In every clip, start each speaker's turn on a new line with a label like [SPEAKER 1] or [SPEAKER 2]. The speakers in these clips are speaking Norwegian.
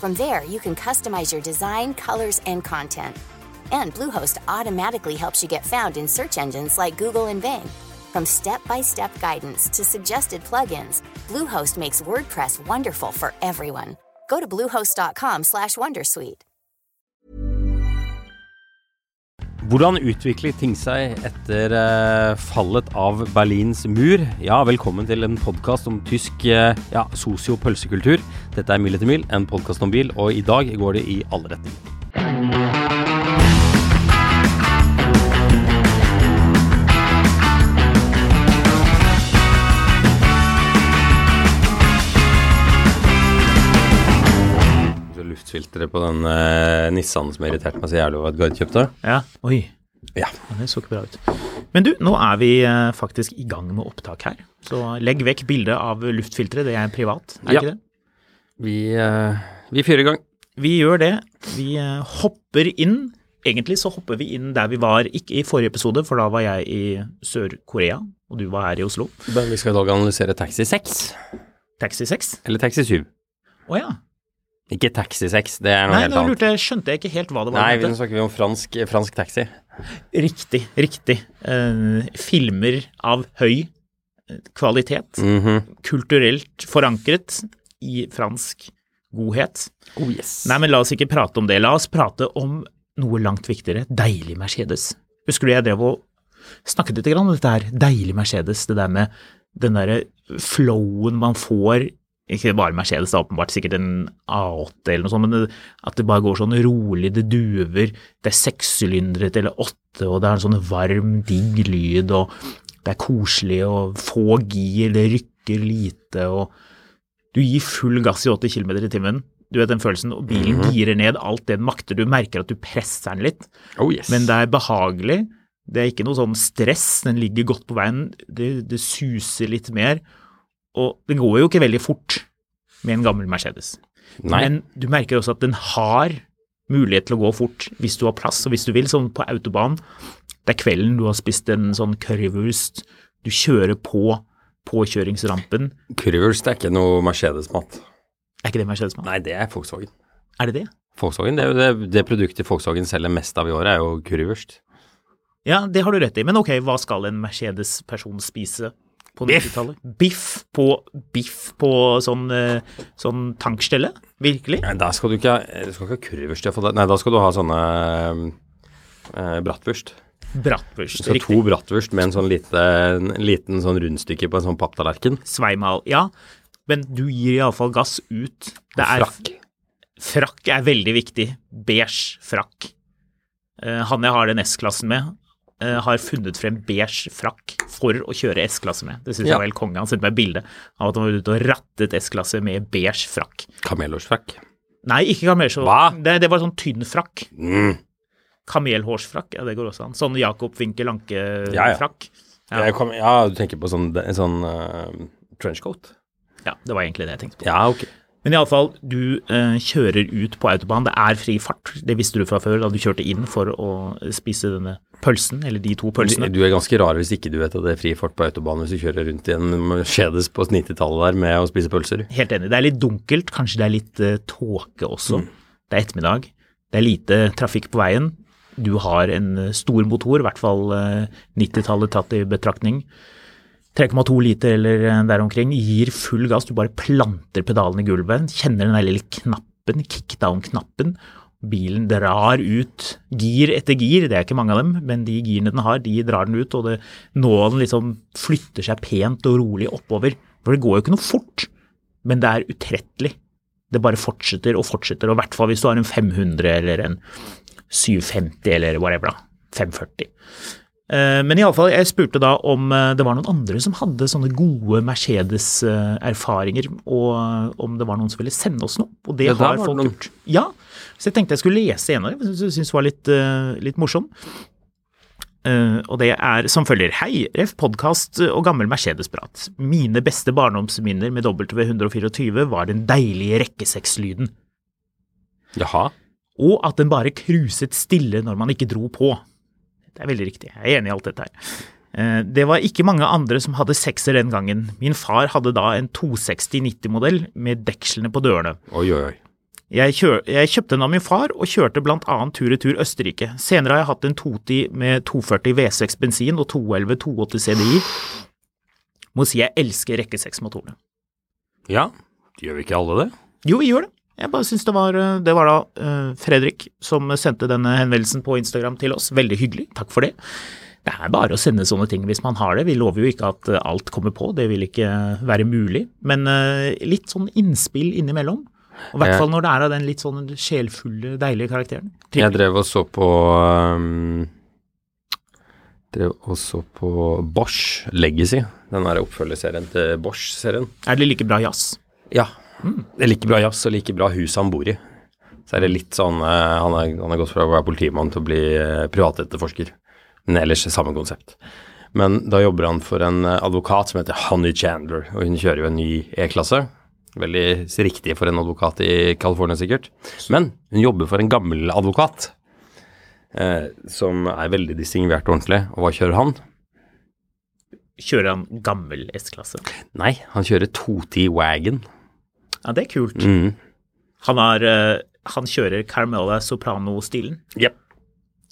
[SPEAKER 1] From there, you can customize your design, colors, and content. And Bluehost automatically helps you get found in search engines like Google and Bing. From step-by-step guidance to suggested plugins, Bluehost makes WordPress wonderful for everyone. Go to bluehost.com/wondersuite. slash Wondersuite.
[SPEAKER 2] Hvordan utviklet ting seg etter eh, fallet av Berlins mur? Ja, velkommen til en podkast om tysk eh, ja, sosio-pølsekultur. Dette er Mil etter mil, en podkast om bil, og i dag går det i alle retninger. Så Luftfilteret på den eh, Nissanen som irriterte meg så jævlig over at Gard kjøpte.
[SPEAKER 3] Ja. Oi.
[SPEAKER 2] Ja.
[SPEAKER 3] Ja, Det så ikke bra ut. Men du, nå er vi eh, faktisk i gang med opptak her. Så legg vekk bildet av luftfilteret, det er privat, er
[SPEAKER 2] Ja.
[SPEAKER 3] ikke det?
[SPEAKER 2] Vi, eh, vi fyrer i gang.
[SPEAKER 3] Vi gjør det. Vi eh, hopper inn. Egentlig så hopper vi inn der vi var, ikke i forrige episode, for da var jeg i Sør-Korea, og du var her i Oslo.
[SPEAKER 2] Men vi skal i dag analysere Taxi 6.
[SPEAKER 3] Taxi 6.
[SPEAKER 2] Eller Taxi 7.
[SPEAKER 3] Å ja.
[SPEAKER 2] Ikke Taxi 6, det er noe
[SPEAKER 3] Nei,
[SPEAKER 2] helt
[SPEAKER 3] nå
[SPEAKER 2] annet.
[SPEAKER 3] lurte jeg, skjønte jeg ikke helt hva det var.
[SPEAKER 2] Nei,
[SPEAKER 3] du
[SPEAKER 2] vi
[SPEAKER 3] mente.
[SPEAKER 2] snakker vi om fransk, fransk taxi.
[SPEAKER 3] Riktig, riktig. Eh, filmer av høy eh, kvalitet,
[SPEAKER 2] Mhm.
[SPEAKER 3] kulturelt forankret i fransk godhet.
[SPEAKER 2] Oh yes.
[SPEAKER 3] Nei, men la oss ikke prate om det. La oss prate om noe langt viktigere. Deilig Mercedes. Husker du jeg drev og snakket litt grann om dette her? Deilig Mercedes. Det der med den derre flowen man får. Ikke bare Mercedes, da, åpenbart sikkert en A8 eller noe sånt, men det- at det bare går sånn rolig, det duver, det er sekssylindret eller åtte, og det er en sånn varm, digg lyd, og det er koselig, og få gir, det rykker lite, og du gir full gass i 80 km i timen. Du vet den følelsen. Og bilen girer ned alt det den makter. Du merker at du presser den litt,
[SPEAKER 2] oh yes.
[SPEAKER 3] men det er behagelig. Det er ikke noe sånn stress. Den ligger godt på veien. Det, det suser litt mer. Og det går jo ikke veldig fort med en gammel Mercedes.
[SPEAKER 2] Nei.
[SPEAKER 3] Men du merker også at den har mulighet til å gå fort hvis du har plass, og hvis du vil, sånn på autobahn. Det er kvelden du har spist en sånn currywurst. Du kjører på påkjøringsrampen.
[SPEAKER 2] Curvers det er ikke noe Mercedes-mat.
[SPEAKER 3] Er ikke det Mercedes man?
[SPEAKER 2] Nei, det er Volkswagen.
[SPEAKER 3] Er det det?
[SPEAKER 2] Volkswagen, Det, er jo det, det produktet Volkswagen selger mest av i året, er jo Curvers.
[SPEAKER 3] Ja, det har du rett i. Men ok, hva skal en Mercedes-person spise på 90-tallet? Biff. på, biff på sånn, eh, sånn tankstelle? Virkelig?
[SPEAKER 2] Nei, Da skal du ikke ha, du skal ikke ha Curvers til å få det. Nei, da skal du ha sånne eh, Bratwurst. Du
[SPEAKER 3] Bratwurst.
[SPEAKER 2] skal ha
[SPEAKER 3] Riktig.
[SPEAKER 2] to Bratwurst med en sånn lite, en liten sånn rundstykke på en sånn papptallerken.
[SPEAKER 3] Sveimal. Ja, men du gir iallfall gass ut. Det er,
[SPEAKER 2] Frakk.
[SPEAKER 3] Frakk er veldig viktig. Beige frakk. Eh, han jeg har den S-klassen med, eh, har funnet frem beige frakk for å kjøre S-klasse med. Det syns
[SPEAKER 2] Ja.
[SPEAKER 3] jeg var helt konge. Han sendte meg et bilde av at han var ute og rattet S-klasse med beige frakk.
[SPEAKER 2] Kamelårsfrakk.
[SPEAKER 3] Nei, ikke kamelhår.
[SPEAKER 2] Hva?
[SPEAKER 3] Det, det var sånn tynn frakk.
[SPEAKER 2] Mm.
[SPEAKER 3] Kamelhårsfrakk, ja, det går også an. Sånn Jakob Winkel
[SPEAKER 2] Ja, ja.
[SPEAKER 3] Anke-frakk. Ja,
[SPEAKER 2] Ja.
[SPEAKER 3] ja.
[SPEAKER 2] ja, du tenker på sånn, sånn eh, trenchcoat?
[SPEAKER 3] det var egentlig det jeg tenkte på.
[SPEAKER 2] Ja, ok.
[SPEAKER 3] Men iallfall, du eh, kjører ut på autobahn. Det er fri fart. Det visste du fra før da du kjørte inn for å spise denne pølsen, eller de to pølsene.
[SPEAKER 2] Du, du er ganske rar hvis ikke du vet at det er fri fart på autobahn hvis du kjører rundt i en Mercedes på 90-tallet der med å spise pølser.
[SPEAKER 3] Helt enig. Det er litt dunkelt, kanskje det er litt eh, tåke også. Det er ettermiddag, det er lite trafikk på veien. Du har en eh, stor motor, i hvert fall eh, 90-tallet tatt i betraktning. 3,2 liter eller eh, der omkring, gir full gass. Du bare planter pedalen i gulvet, kjenner den der lille knappen, kickdown-knappen. Bilen drar ut gir etter gir, det er ikke mange av dem, men de girene den har, de drar den ut, og det, nålen liksom flytter seg pent og rolig oppover. For det går jo ikke noe fort men det er utrettelig. Det bare fortsetter og fortsetter, og i hvert fall hvis du har en 500 eller en 750 eller whatever, da. 540. Eh, Men iallfall, jeg spurte da om eh, det var noen andre som hadde sånne gode Mercedes-erfaringer, og eh, om det var noen som ville sende oss noe. Og det
[SPEAKER 2] Ja, der var
[SPEAKER 3] har
[SPEAKER 2] det
[SPEAKER 3] folk
[SPEAKER 2] noen.
[SPEAKER 3] gjort. Ja, så jeg tenkte jeg skulle lese en av dem, som jeg syntes var litt, eh, litt morsom. Eh, og det er som følger. Hei, ref. podkast og gammel Mercedes-prat. Mine beste barndomsminner med W124 var den deilige rekkesekslyden,
[SPEAKER 2] Jaha.
[SPEAKER 3] og at den bare cruiset stille når man ikke dro på. Det er veldig riktig. Jeg er enig i alt dette her. Eh, Det var ikke mange andre som hadde sekser den gangen. Min far hadde da en 260-90-modell med dekslene på dørene.
[SPEAKER 2] Oi, oi, oi.
[SPEAKER 3] Jeg, kjø jeg kjøpte den av min far og kjørte blant annet tur-retur Østerrike. Senere har jeg hatt en 210 med 240 V6 bensin og 211 280 CDI. Må si jeg elsker rekke 6-motorene.
[SPEAKER 2] Ja, gjør vi ikke alle det?
[SPEAKER 3] Jo, vi gjør det. Jeg bare synes det var eh, Det var da eh, Fredrik som sendte denne henvendelsen på Instagram til oss. Veldig hyggelig. Takk for det. Det er bare å sende sånne ting hvis man har det. Vi lover jo ikke at eh, alt kommer på, det vil ikke eh, være mulig. Men eh, litt sånn innspill innimellom. Og I hvert
[SPEAKER 2] Jeg-
[SPEAKER 3] fall når det er av den litt sånn sjelfulle, deilige karakteren.
[SPEAKER 2] Jeg drev og så på ehm, Drev og så på Bosch Legacy. Den der oppfølgerserien til Bosch-serien.
[SPEAKER 3] Er det like bra jazz?
[SPEAKER 2] Ja. Det er like bra jazz og like bra hus han bor i. Så er det litt sånn eh, Han er- han har gått fra å være politimann til å bli eh, privatetterforsker. Men ellers er samme konsept. Men da jobber han for en eh, advokat som heter Honey Chandler, og hun kjører jo en ny E-klasse. Veldig riktig for en advokat i California, sikkert. Men hun jobber for en gammel advokat eh, som er veldig distingvert og ordentlig. Og hva kjører han?
[SPEAKER 3] Kjører han gammel S-klasse?
[SPEAKER 2] Nei, han kjører 210 Wagon.
[SPEAKER 3] Ja, det er kult.
[SPEAKER 2] Mm.
[SPEAKER 3] Han, har, eh, han kjører Carmela Soprano-stilen.
[SPEAKER 2] Yep.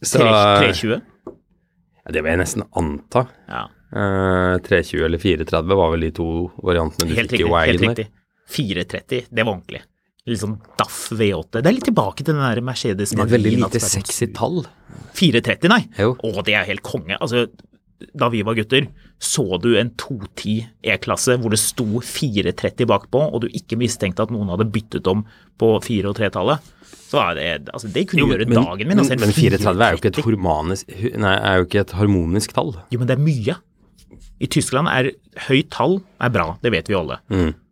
[SPEAKER 2] Så,
[SPEAKER 3] 320.
[SPEAKER 2] Ja, det vil jeg nesten anta.
[SPEAKER 3] Ja,
[SPEAKER 2] Eh, 320 eller 430 var vel de to variantene du
[SPEAKER 3] helt
[SPEAKER 2] fikk i
[SPEAKER 3] riktig. Helt
[SPEAKER 2] Wagon der.
[SPEAKER 3] riktig. 430, det var ordentlig. Litt sånn Daff V8. Det er litt tilbake til den der
[SPEAKER 2] Det er
[SPEAKER 3] Mercedes-magien.
[SPEAKER 2] et veldig
[SPEAKER 3] at
[SPEAKER 2] lite
[SPEAKER 3] det er sånn-
[SPEAKER 2] sexy tall.
[SPEAKER 3] 430, nei?
[SPEAKER 2] Jo.
[SPEAKER 3] Å, det er helt konge. Altså, da vi var gutter, så du en 210 E-klasse hvor det sto 430 bakpå, og du ikke mistenkte at noen hadde byttet om på 4- og 3-tallet. Så er det, altså, det kunne gjøre dagen min.
[SPEAKER 2] men,
[SPEAKER 3] Altså, en
[SPEAKER 2] men 430 er jo ikke et, hormonisk, nei, er jo ikke et harmonisk tall.
[SPEAKER 3] Jo, men det er mye. I Tyskland er høyt tall er bra, det vet vi alle.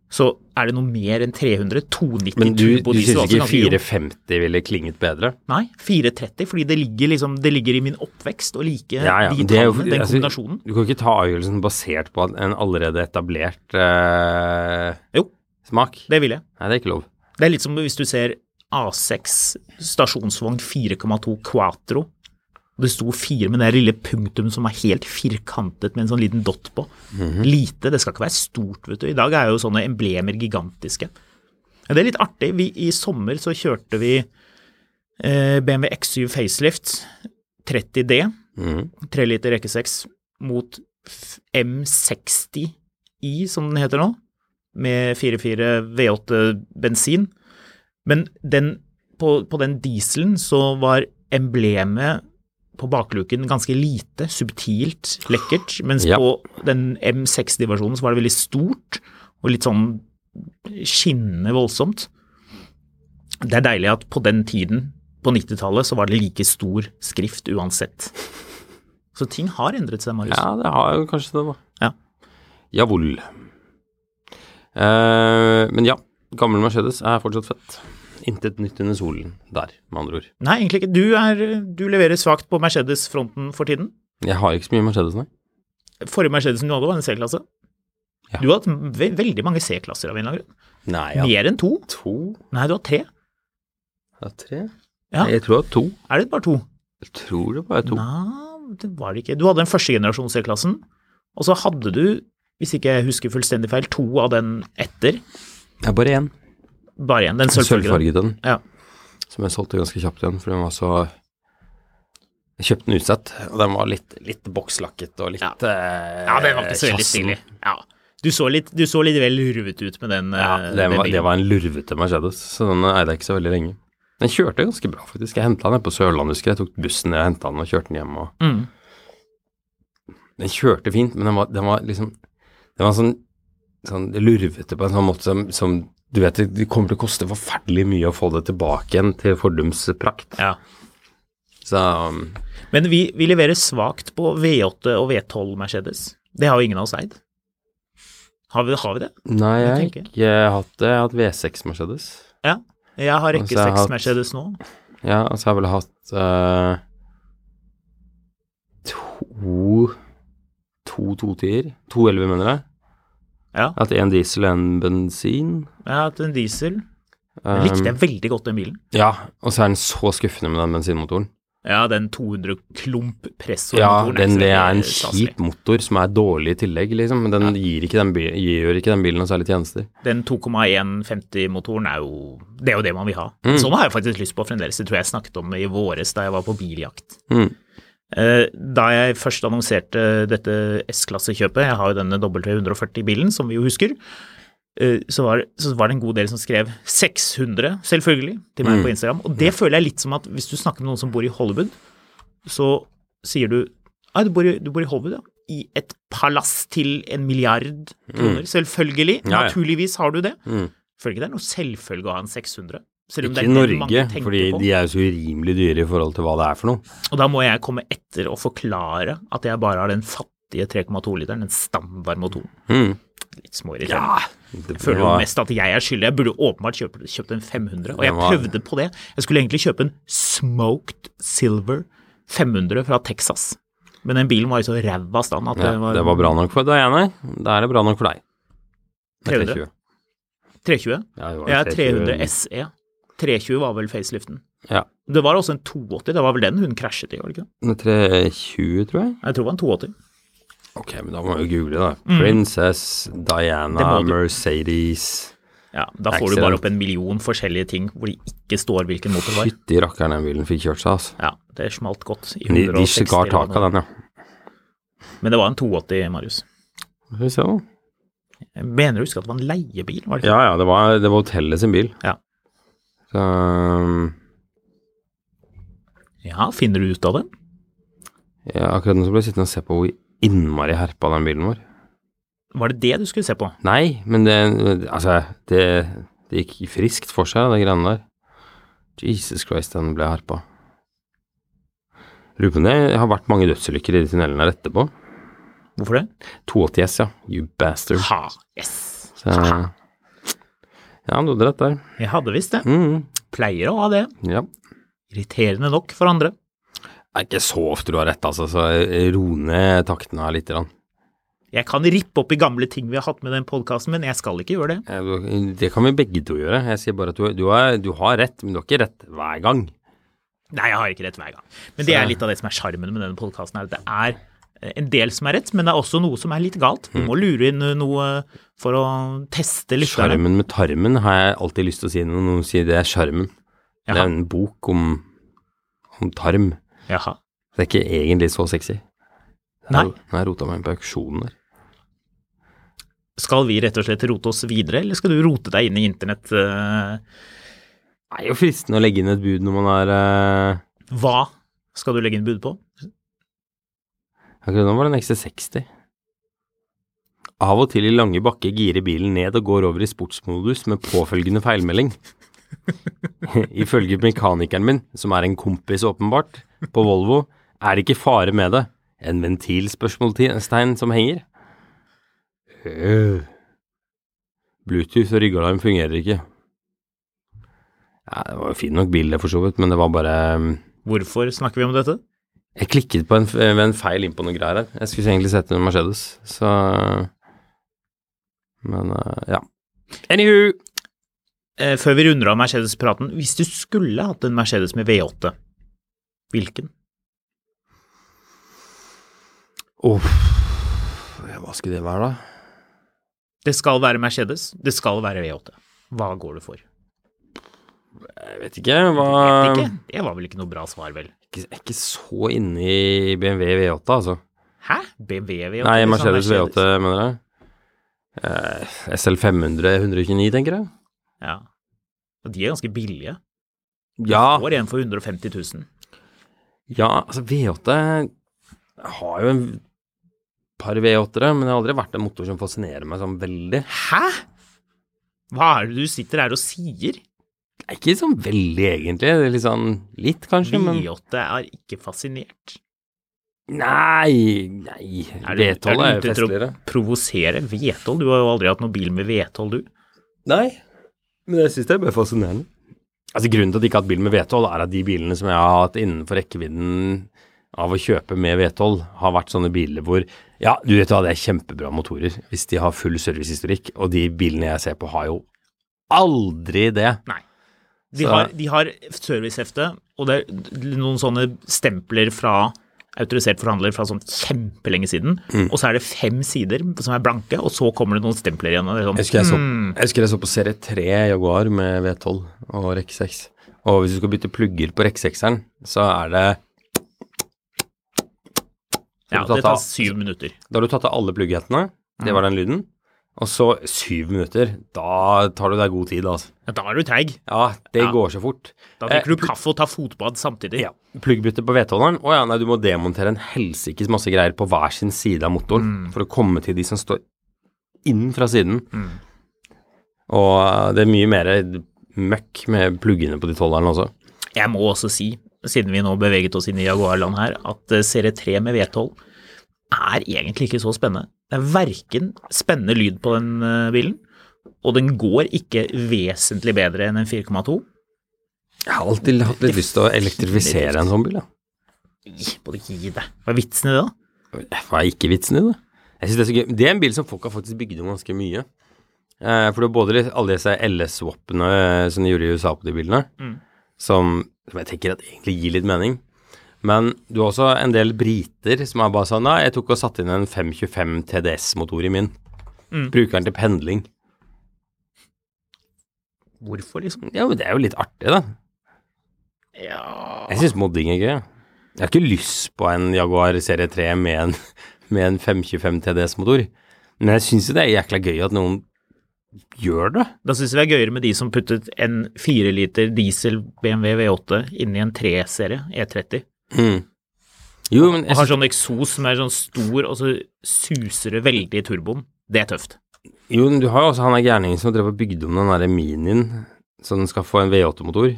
[SPEAKER 3] Så er det noe mer enn 300? 290
[SPEAKER 2] Mm. Men du, du
[SPEAKER 3] turbodiesel,
[SPEAKER 2] syns
[SPEAKER 3] altså,
[SPEAKER 2] ikke
[SPEAKER 3] ganske rom.
[SPEAKER 2] 450 ville klinget bedre?
[SPEAKER 3] Nei, 430, fordi det ligger, liksom, det ligger i min oppvekst å like de
[SPEAKER 2] det er jo-
[SPEAKER 3] tallene, den
[SPEAKER 2] altså,
[SPEAKER 3] kombinasjonen.
[SPEAKER 2] Du kan ikke ta avgjørelsen basert på en allerede etablert eh,
[SPEAKER 3] Jo,
[SPEAKER 2] smak.
[SPEAKER 3] det vil jeg.
[SPEAKER 2] Nei, det er ikke lov.
[SPEAKER 3] Det er litt som hvis du ser A6 stasjonsvogn 4,2 Quatro. Det sto fire med det lille punktum som er helt firkantet med en sånn liten dott på. Lite, det skal ikke være stort, vet du. I dag er jo sånne emblemer gigantiske. Men Det er litt artig. Vi, I sommer så kjørte vi eh, BMW X7 Facelift 30D,
[SPEAKER 2] Mhm.
[SPEAKER 3] 3 liter rekke 6, mot f- M60i, som den heter nå med 4-4 V8 bensin. Men den, på, på den dieselen så var emblemet på bakluken ganske lite, subtilt, lekkert, mens
[SPEAKER 2] Ja.
[SPEAKER 3] på den M60-versjonen så var det veldig stort og litt sånn skinnende voldsomt. Det er deilig at på den tiden, på 90-tallet, så var det like stor skrift uansett. Så ting har endret seg, Marius.
[SPEAKER 2] Ja, det har jo kanskje det, da.
[SPEAKER 3] Ja.
[SPEAKER 2] Jawohl. Eh, men ja, gammel Mercedes er fortsatt fett. Intet nytt under solen der, med andre ord.
[SPEAKER 3] Nei, egentlig ikke. Du, er, du leverer svakt på Mercedes-fronten for tiden.
[SPEAKER 2] Jeg har ikke så mye Mercedes, nei.
[SPEAKER 3] Forrige Mercedesen du hadde, var en C-klasse.
[SPEAKER 2] Ja.
[SPEAKER 3] Du har hatt ve veldig mange C-klasser av en eller annen grunn.
[SPEAKER 2] Nei, jeg
[SPEAKER 3] Mer enn to?
[SPEAKER 2] to.
[SPEAKER 3] Nei, du har tre.
[SPEAKER 2] Jeg har tre.
[SPEAKER 3] Ja.
[SPEAKER 2] Nei, Jeg tror jeg har to.
[SPEAKER 3] Er det bare to?
[SPEAKER 2] Jeg tror det bare er to.
[SPEAKER 3] Nei, det var det ikke. Du hadde den første generasjon C-klassen, og så hadde du, hvis ikke jeg husker fullstendig feil, to av den etter.
[SPEAKER 2] Det er bare én.
[SPEAKER 3] Bare igjen, den sølvfargen.
[SPEAKER 2] Sølvfarget den,
[SPEAKER 3] Ja.
[SPEAKER 2] som jeg solgte ganske kjapt igjen, for den var så Jeg kjøpte den utsett, og den var litt, litt bokslakket og litt
[SPEAKER 3] Ja.
[SPEAKER 2] eh,
[SPEAKER 3] ja, den var ikke så veldig
[SPEAKER 2] tjassen.
[SPEAKER 3] stilig. Ja. Du så, litt, du så litt vel lurvet ut med den.
[SPEAKER 2] Ja,
[SPEAKER 3] eh,
[SPEAKER 2] det
[SPEAKER 3] den
[SPEAKER 2] var,
[SPEAKER 3] bilen.
[SPEAKER 2] det var en lurvete Mercedes, så den eide jeg ikke så veldig lenge. Den kjørte ganske bra, faktisk. Jeg henta den her på Sørlandet, husker jeg. Jeg tok bussen ned og henta den og kjørte den hjem. Og...
[SPEAKER 3] Mm.
[SPEAKER 2] Den kjørte fint, men den var, den var liksom Den var sånn, sånn lurvete på en sånn måte som, som Du vet, det- det kommer til å koste forferdelig mye å få det tilbake igjen til fordums prakt.
[SPEAKER 3] Ja.
[SPEAKER 2] Så um,
[SPEAKER 3] Men vi, vi leverer svakt på V8 og V12 Mercedes. Det har jo ingen av oss eid. Har vi, har vi det?
[SPEAKER 2] nei, jeg har
[SPEAKER 3] tenker.
[SPEAKER 2] ikke hatt det. Jeg har hatt V6 Mercedes.
[SPEAKER 3] Ja. Jeg har rekke
[SPEAKER 2] Altså, jeg har
[SPEAKER 3] 6
[SPEAKER 2] hatt-
[SPEAKER 3] Mercedes nå.
[SPEAKER 2] Ja, altså jeg har vel hatt eh, to To totier. To elleve, mener jeg.
[SPEAKER 3] Ja.
[SPEAKER 2] Jeg har hatt én diesel og én bensin.
[SPEAKER 3] Jeg har hatt en diesel. Den
[SPEAKER 2] Um,
[SPEAKER 3] likte jeg veldig godt, den bilen.
[SPEAKER 2] Ja, og så er den så skuffende med den bensinmotoren.
[SPEAKER 3] Ja, den 200 klump pressoren.
[SPEAKER 2] Ja, den, det er en kjip motor som er dårlig i tillegg, liksom. Men den gir, ikke den bi gjør ikke den bilen noen særlig tjenester.
[SPEAKER 3] Den 2,150-motoren er jo Det er jo det man vil ha.
[SPEAKER 2] Mm.
[SPEAKER 3] Sånn har jeg faktisk lyst på fremdeles. Det tror jeg jeg snakket om i våres da jeg var på biljakt.
[SPEAKER 2] Mm.
[SPEAKER 3] Eh, Da jeg først annonserte dette S-klassekjøpet, jeg har jo denne W140-bilen som vi jo husker, eh, så var, så var det en god del som skrev 600, selvfølgelig, til
[SPEAKER 2] Mm.
[SPEAKER 3] meg på Instagram. Og det føler jeg litt som at hvis du snakker med noen som bor i Hollywood, så sier du Nei, du bor i, du bor i Hollywood, ja. I et palass til en milliard kroner. Selvfølgelig.
[SPEAKER 2] Mm. Ja, ja.
[SPEAKER 3] Naturligvis har du det.
[SPEAKER 2] Mm.
[SPEAKER 3] Føler ikke det er noe selvfølge å ha en 600. Selv om
[SPEAKER 2] Ikke i
[SPEAKER 3] det er det
[SPEAKER 2] Norge,
[SPEAKER 3] mange tenker
[SPEAKER 2] fordi
[SPEAKER 3] på.
[SPEAKER 2] de er jo så urimelig dyre i forhold til hva det er for noe.
[SPEAKER 3] Og da må jeg komme etter og forklare at jeg bare har den fattige 3,2-literen, den standardmotoren.
[SPEAKER 2] Mm.
[SPEAKER 3] Litt småirriterende.
[SPEAKER 2] Det
[SPEAKER 3] Jeg føler jo
[SPEAKER 2] var-
[SPEAKER 3] mest at jeg er skyldig. Jeg burde jo åpenbart kjøpt, kjøpt en 500, og jeg
[SPEAKER 2] Det var-
[SPEAKER 3] prøvde på det. Jeg skulle egentlig kjøpe en smoked silver 500 fra Texas, men den bilen var i så ræva stand at
[SPEAKER 2] ja,
[SPEAKER 3] det var,
[SPEAKER 2] Det var bra nok for deg, Einar. Da er det bra nok for deg. Det er
[SPEAKER 3] 300.
[SPEAKER 2] 320.
[SPEAKER 3] 320.
[SPEAKER 2] Ja, det var
[SPEAKER 3] Jeg er
[SPEAKER 2] 320.
[SPEAKER 3] 300 SE. 320 E. var vel faceliften.
[SPEAKER 2] Ja.
[SPEAKER 3] Det var også en 280, det var vel den hun krasjet i, var det ikke? det?
[SPEAKER 2] Men 320, tror jeg.
[SPEAKER 3] Jeg tror det var en 280.
[SPEAKER 2] Ok, men da må vi jo google, da. Princess
[SPEAKER 3] Det
[SPEAKER 2] Diana
[SPEAKER 3] må du.
[SPEAKER 2] Mercedes
[SPEAKER 3] Ja, da får du
[SPEAKER 2] Excellent.
[SPEAKER 3] bare opp en million forskjellige ting hvor det ikke står hvilken motor det var.
[SPEAKER 2] Fytti rakkeren, den bilen fikk kjørt seg, altså.
[SPEAKER 3] Ja, det smalt godt. i
[SPEAKER 2] De, de
[SPEAKER 3] 160
[SPEAKER 2] skar
[SPEAKER 3] eller
[SPEAKER 2] tak av
[SPEAKER 3] noe.
[SPEAKER 2] den, ja.
[SPEAKER 3] Men det var en 280, Marius.
[SPEAKER 2] Skal vi se. da.
[SPEAKER 3] Jeg mener du husker at det var en leiebil, var det ikke?
[SPEAKER 2] Ja ja, det var, det var hotellet sin bil.
[SPEAKER 3] Ja.
[SPEAKER 2] Så um,
[SPEAKER 3] Ja, finner du ut av det?
[SPEAKER 2] ja, akkurat nå så ble jeg sittende og se på hvor innmari herpa den bilen vår.
[SPEAKER 3] Var det det du skulle se på?
[SPEAKER 2] Nei, men det Altså, det, det gikk friskt for seg, de greiene der. Jesus Christ, den ble herpa. Lurer på om det har vært mange dødsulykker i de tunnelene her etterpå.
[SPEAKER 3] Hvorfor det?
[SPEAKER 2] 280 S, ja. You bastard.
[SPEAKER 3] Ha, yes!
[SPEAKER 2] Så, ja, du hadde rett der.
[SPEAKER 3] Jeg hadde visst det.
[SPEAKER 2] Mm,
[SPEAKER 3] Pleier å ha det.
[SPEAKER 2] ja.
[SPEAKER 3] Irriterende nok for andre.
[SPEAKER 2] Det er ikke så ofte du har rett, altså, så ro ned takten her litt. Grann.
[SPEAKER 3] Jeg kan rippe opp i gamle ting vi har hatt med den podkasten, men jeg skal ikke gjøre det.
[SPEAKER 2] Eh, du- Det kan vi begge to gjøre. Jeg sier bare at du, du, har, du har rett, men du har ikke rett hver gang.
[SPEAKER 3] Nei, jeg har ikke rett hver gang. Men det er litt av det som er sjarmen med denne podkasten, er at det er eh, en del som er rett, men det er også noe som er litt galt. Du må lure inn noe for å teste lytterne.
[SPEAKER 2] Sjarmen med tarmen har jeg alltid lyst til å si når noen sier det er sjarmen. Det
[SPEAKER 3] Jaha.
[SPEAKER 2] er en bok om, om tarm.
[SPEAKER 3] Jaha.
[SPEAKER 2] Det er ikke egentlig så sexy. Det er-
[SPEAKER 3] Nei.
[SPEAKER 2] Nå har jeg rota meg inn på auksjonen der.
[SPEAKER 3] Skal vi rett og slett rote oss videre, eller skal du rote deg inn i internett? eh,
[SPEAKER 2] Det er jo fristende å legge inn et bud når man er eh,
[SPEAKER 3] Hva skal du legge inn bud på?
[SPEAKER 2] Akkurat nå var det en XC60. Av og til i lange bakke girer bilen ned og går over i sportsmodus med påfølgende feilmelding. Ifølge mekanikeren min, som er en kompis åpenbart, på Volvo, er det ikke fare med det. En ventilspørsmålstegn som henger. Øh. Bluetooth og ryggalarm fungerer ikke. Ja, det var jo fin nok bil det, for så vidt, men det var bare mm,
[SPEAKER 3] Hvorfor snakker vi om dette?
[SPEAKER 2] jeg klikket på en, ved en feil inn på noen greier her. Jeg skulle egentlig sette en Mercedes, så Men eh, ja. Anywho.
[SPEAKER 3] Eh, Før vi runder av Mercedes-praten, hvis du skulle hatt en Mercedes med V8, hvilken?
[SPEAKER 2] Uff. Ja, Hva skulle det være, da?
[SPEAKER 3] Det skal være Mercedes, det skal være V8. Hva går du for?
[SPEAKER 2] Jeg vet ikke. Hva
[SPEAKER 3] Vet ikke. Det var vel ikke noe bra svar, vel?
[SPEAKER 2] Ikke, jeg er ikke så inne i BMW V8, altså.
[SPEAKER 3] Hæ? BMW V8?
[SPEAKER 2] Nei,
[SPEAKER 3] liksom,
[SPEAKER 2] Mercedes V8, mener jeg. Eh, SL 500 129, tenker jeg.
[SPEAKER 3] Ja. Og de er ganske billige.
[SPEAKER 2] Ja.
[SPEAKER 3] Får en for 150 000.
[SPEAKER 2] Ja, altså V8 Jeg har jo en par V8-ere, men det har aldri vært en motor som fascinerer meg sånn veldig.
[SPEAKER 3] Hæ? Hva er det du sitter her og sier?
[SPEAKER 2] Det er Ikke sånn veldig, egentlig. Det er litt sånn litt, kanskje, men
[SPEAKER 3] V8 er ikke fascinert.
[SPEAKER 2] Nei, nei.
[SPEAKER 3] Er du-
[SPEAKER 2] V12 er
[SPEAKER 3] er du ute
[SPEAKER 2] jo
[SPEAKER 3] etter å
[SPEAKER 2] festligere.
[SPEAKER 3] Provosere? V12? Du har jo aldri hatt noen bil med V12, du.
[SPEAKER 2] Nei, men jeg syns det er bare fascinerende. Altså Grunnen til at jeg ikke har hatt bil med V12, er at de bilene som jeg har hatt innenfor rekkevidden av å kjøpe med V12, har vært sånne biler hvor Ja, du vet hva, det er kjempebra motorer hvis de har full servicehistorikk, og de bilene jeg ser på, har jo aldri det.
[SPEAKER 3] De
[SPEAKER 2] Så-
[SPEAKER 3] har, de har servicehefte, og det er noen sånne stempler fra autorisert forhandler fra sånn kjempelenge siden,
[SPEAKER 2] Mm.
[SPEAKER 3] og så er det fem sider som er blanke, og så kommer det noen stempler igjen. Og det er sånn,
[SPEAKER 2] Jeg husker jeg, så, jeg husker jeg så på serie 3 Jaguar med V12 og rekke 6. Og hvis du skal bytte plugger på rekke 6-eren, så er det
[SPEAKER 3] ja,
[SPEAKER 2] du tatt
[SPEAKER 3] det tar
[SPEAKER 2] av-
[SPEAKER 3] syv minutter.
[SPEAKER 2] Da har du tatt av alle plugghettene. Det var
[SPEAKER 3] Mm.
[SPEAKER 2] den lyden. Og så syv minutter. Da tar du deg god tid, altså.
[SPEAKER 3] Ja, da er du treig.
[SPEAKER 2] Ja, det
[SPEAKER 3] Ja.
[SPEAKER 2] går så fort. Eh,
[SPEAKER 3] Da drikker du kaffe og tar fotbad samtidig.
[SPEAKER 2] Ja. Pluggbytte på vedholderen. Å ja, nei, du må demontere en helsikes masse greier på hver sin side av motoren
[SPEAKER 3] Mm.
[SPEAKER 2] for å komme til de som står inn fra siden. Og eh, det er mye mer møkk med pluggene på de tolverne også.
[SPEAKER 3] Jeg må også si, siden vi nå beveget oss inn i Jaguarland her, at eh, serie 3 med V12 er egentlig ikke så spennende. Det er verken spennende lyd på den eh, bilen, og den går ikke vesentlig bedre enn en 4,2.
[SPEAKER 2] Jeg har alltid hatt litt lyst til å elektrifisere en sånn bil, ja.
[SPEAKER 3] Gi- Må du ikke gi deg. Hva er vitsen i det, da?
[SPEAKER 2] Hva er ikke vitsen i det? Jeg synes Det er så gøy. Det er en bil som folk har faktisk bygd om ganske mye. Eh, for det er både litt- alle disse LS-swappene eh, som de gjorde i USA på de bilene, som, som jeg tenker at egentlig gir litt mening. Men du har også en del briter som er bare sånn Nei, jeg tok og satte inn en 525 TDS-motor i min. Bruker den til pendling.
[SPEAKER 3] Hvorfor, liksom?
[SPEAKER 2] Ja, men det er jo litt artig, da.
[SPEAKER 3] Ja
[SPEAKER 2] Jeg syns modding er gøy. jeg. Jeg har ikke lyst på en Jaguar serie 3 med en, med en 525 TDS-motor, men jeg syns jo det er jækla gøy at noen gjør det.
[SPEAKER 3] Da syns jeg det er gøyere med de som puttet en 4 liter diesel BMW V8 inn i en E 3-serie E30.
[SPEAKER 2] Jo, men
[SPEAKER 3] Og
[SPEAKER 2] jeg
[SPEAKER 3] har
[SPEAKER 2] syns,
[SPEAKER 3] sånn eksos som er sånn stor, og så suser det veldig i turboen. Det er tøft.
[SPEAKER 2] jo, men du har jo også han der gærningen som drev og bygde om den derre minien, så den skal få en V8-motor.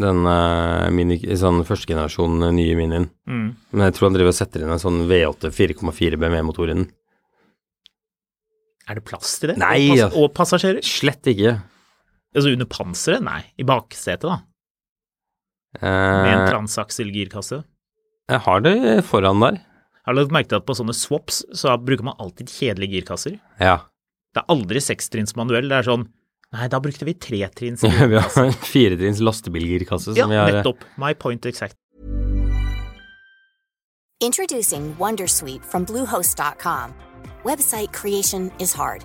[SPEAKER 2] Den eh, mini, sånn første generasjon eh, nye minien.
[SPEAKER 3] Mm.
[SPEAKER 2] Men jeg tror han driver og setter inn en sånn V8 4,4 BMW-motor i den.
[SPEAKER 3] Er det plass til det?
[SPEAKER 2] Nei,
[SPEAKER 3] og,
[SPEAKER 2] ja.
[SPEAKER 3] pass og passasjerer?
[SPEAKER 2] Slett ikke.
[SPEAKER 3] Altså under panseret? Nei, i baksetet, da. Med en
[SPEAKER 2] Eh,
[SPEAKER 3] transakselgirkasse.
[SPEAKER 2] jeg Eh, har det foran der.
[SPEAKER 3] Har du lagt merke til at på sånne swaps så bruker man alltid kjedelige girkasser?
[SPEAKER 2] Ja.
[SPEAKER 3] Det er aldri sekstrinns manuell. Det er sånn Nei, da brukte vi tretrinns.
[SPEAKER 2] Ja, vi har en firetrinns lastebilgirkasse
[SPEAKER 3] Ja,
[SPEAKER 2] som vi har eh,
[SPEAKER 3] nettopp. My point exact.
[SPEAKER 1] Introducing Wondersuite from Bluehost.com. Website creation is hard,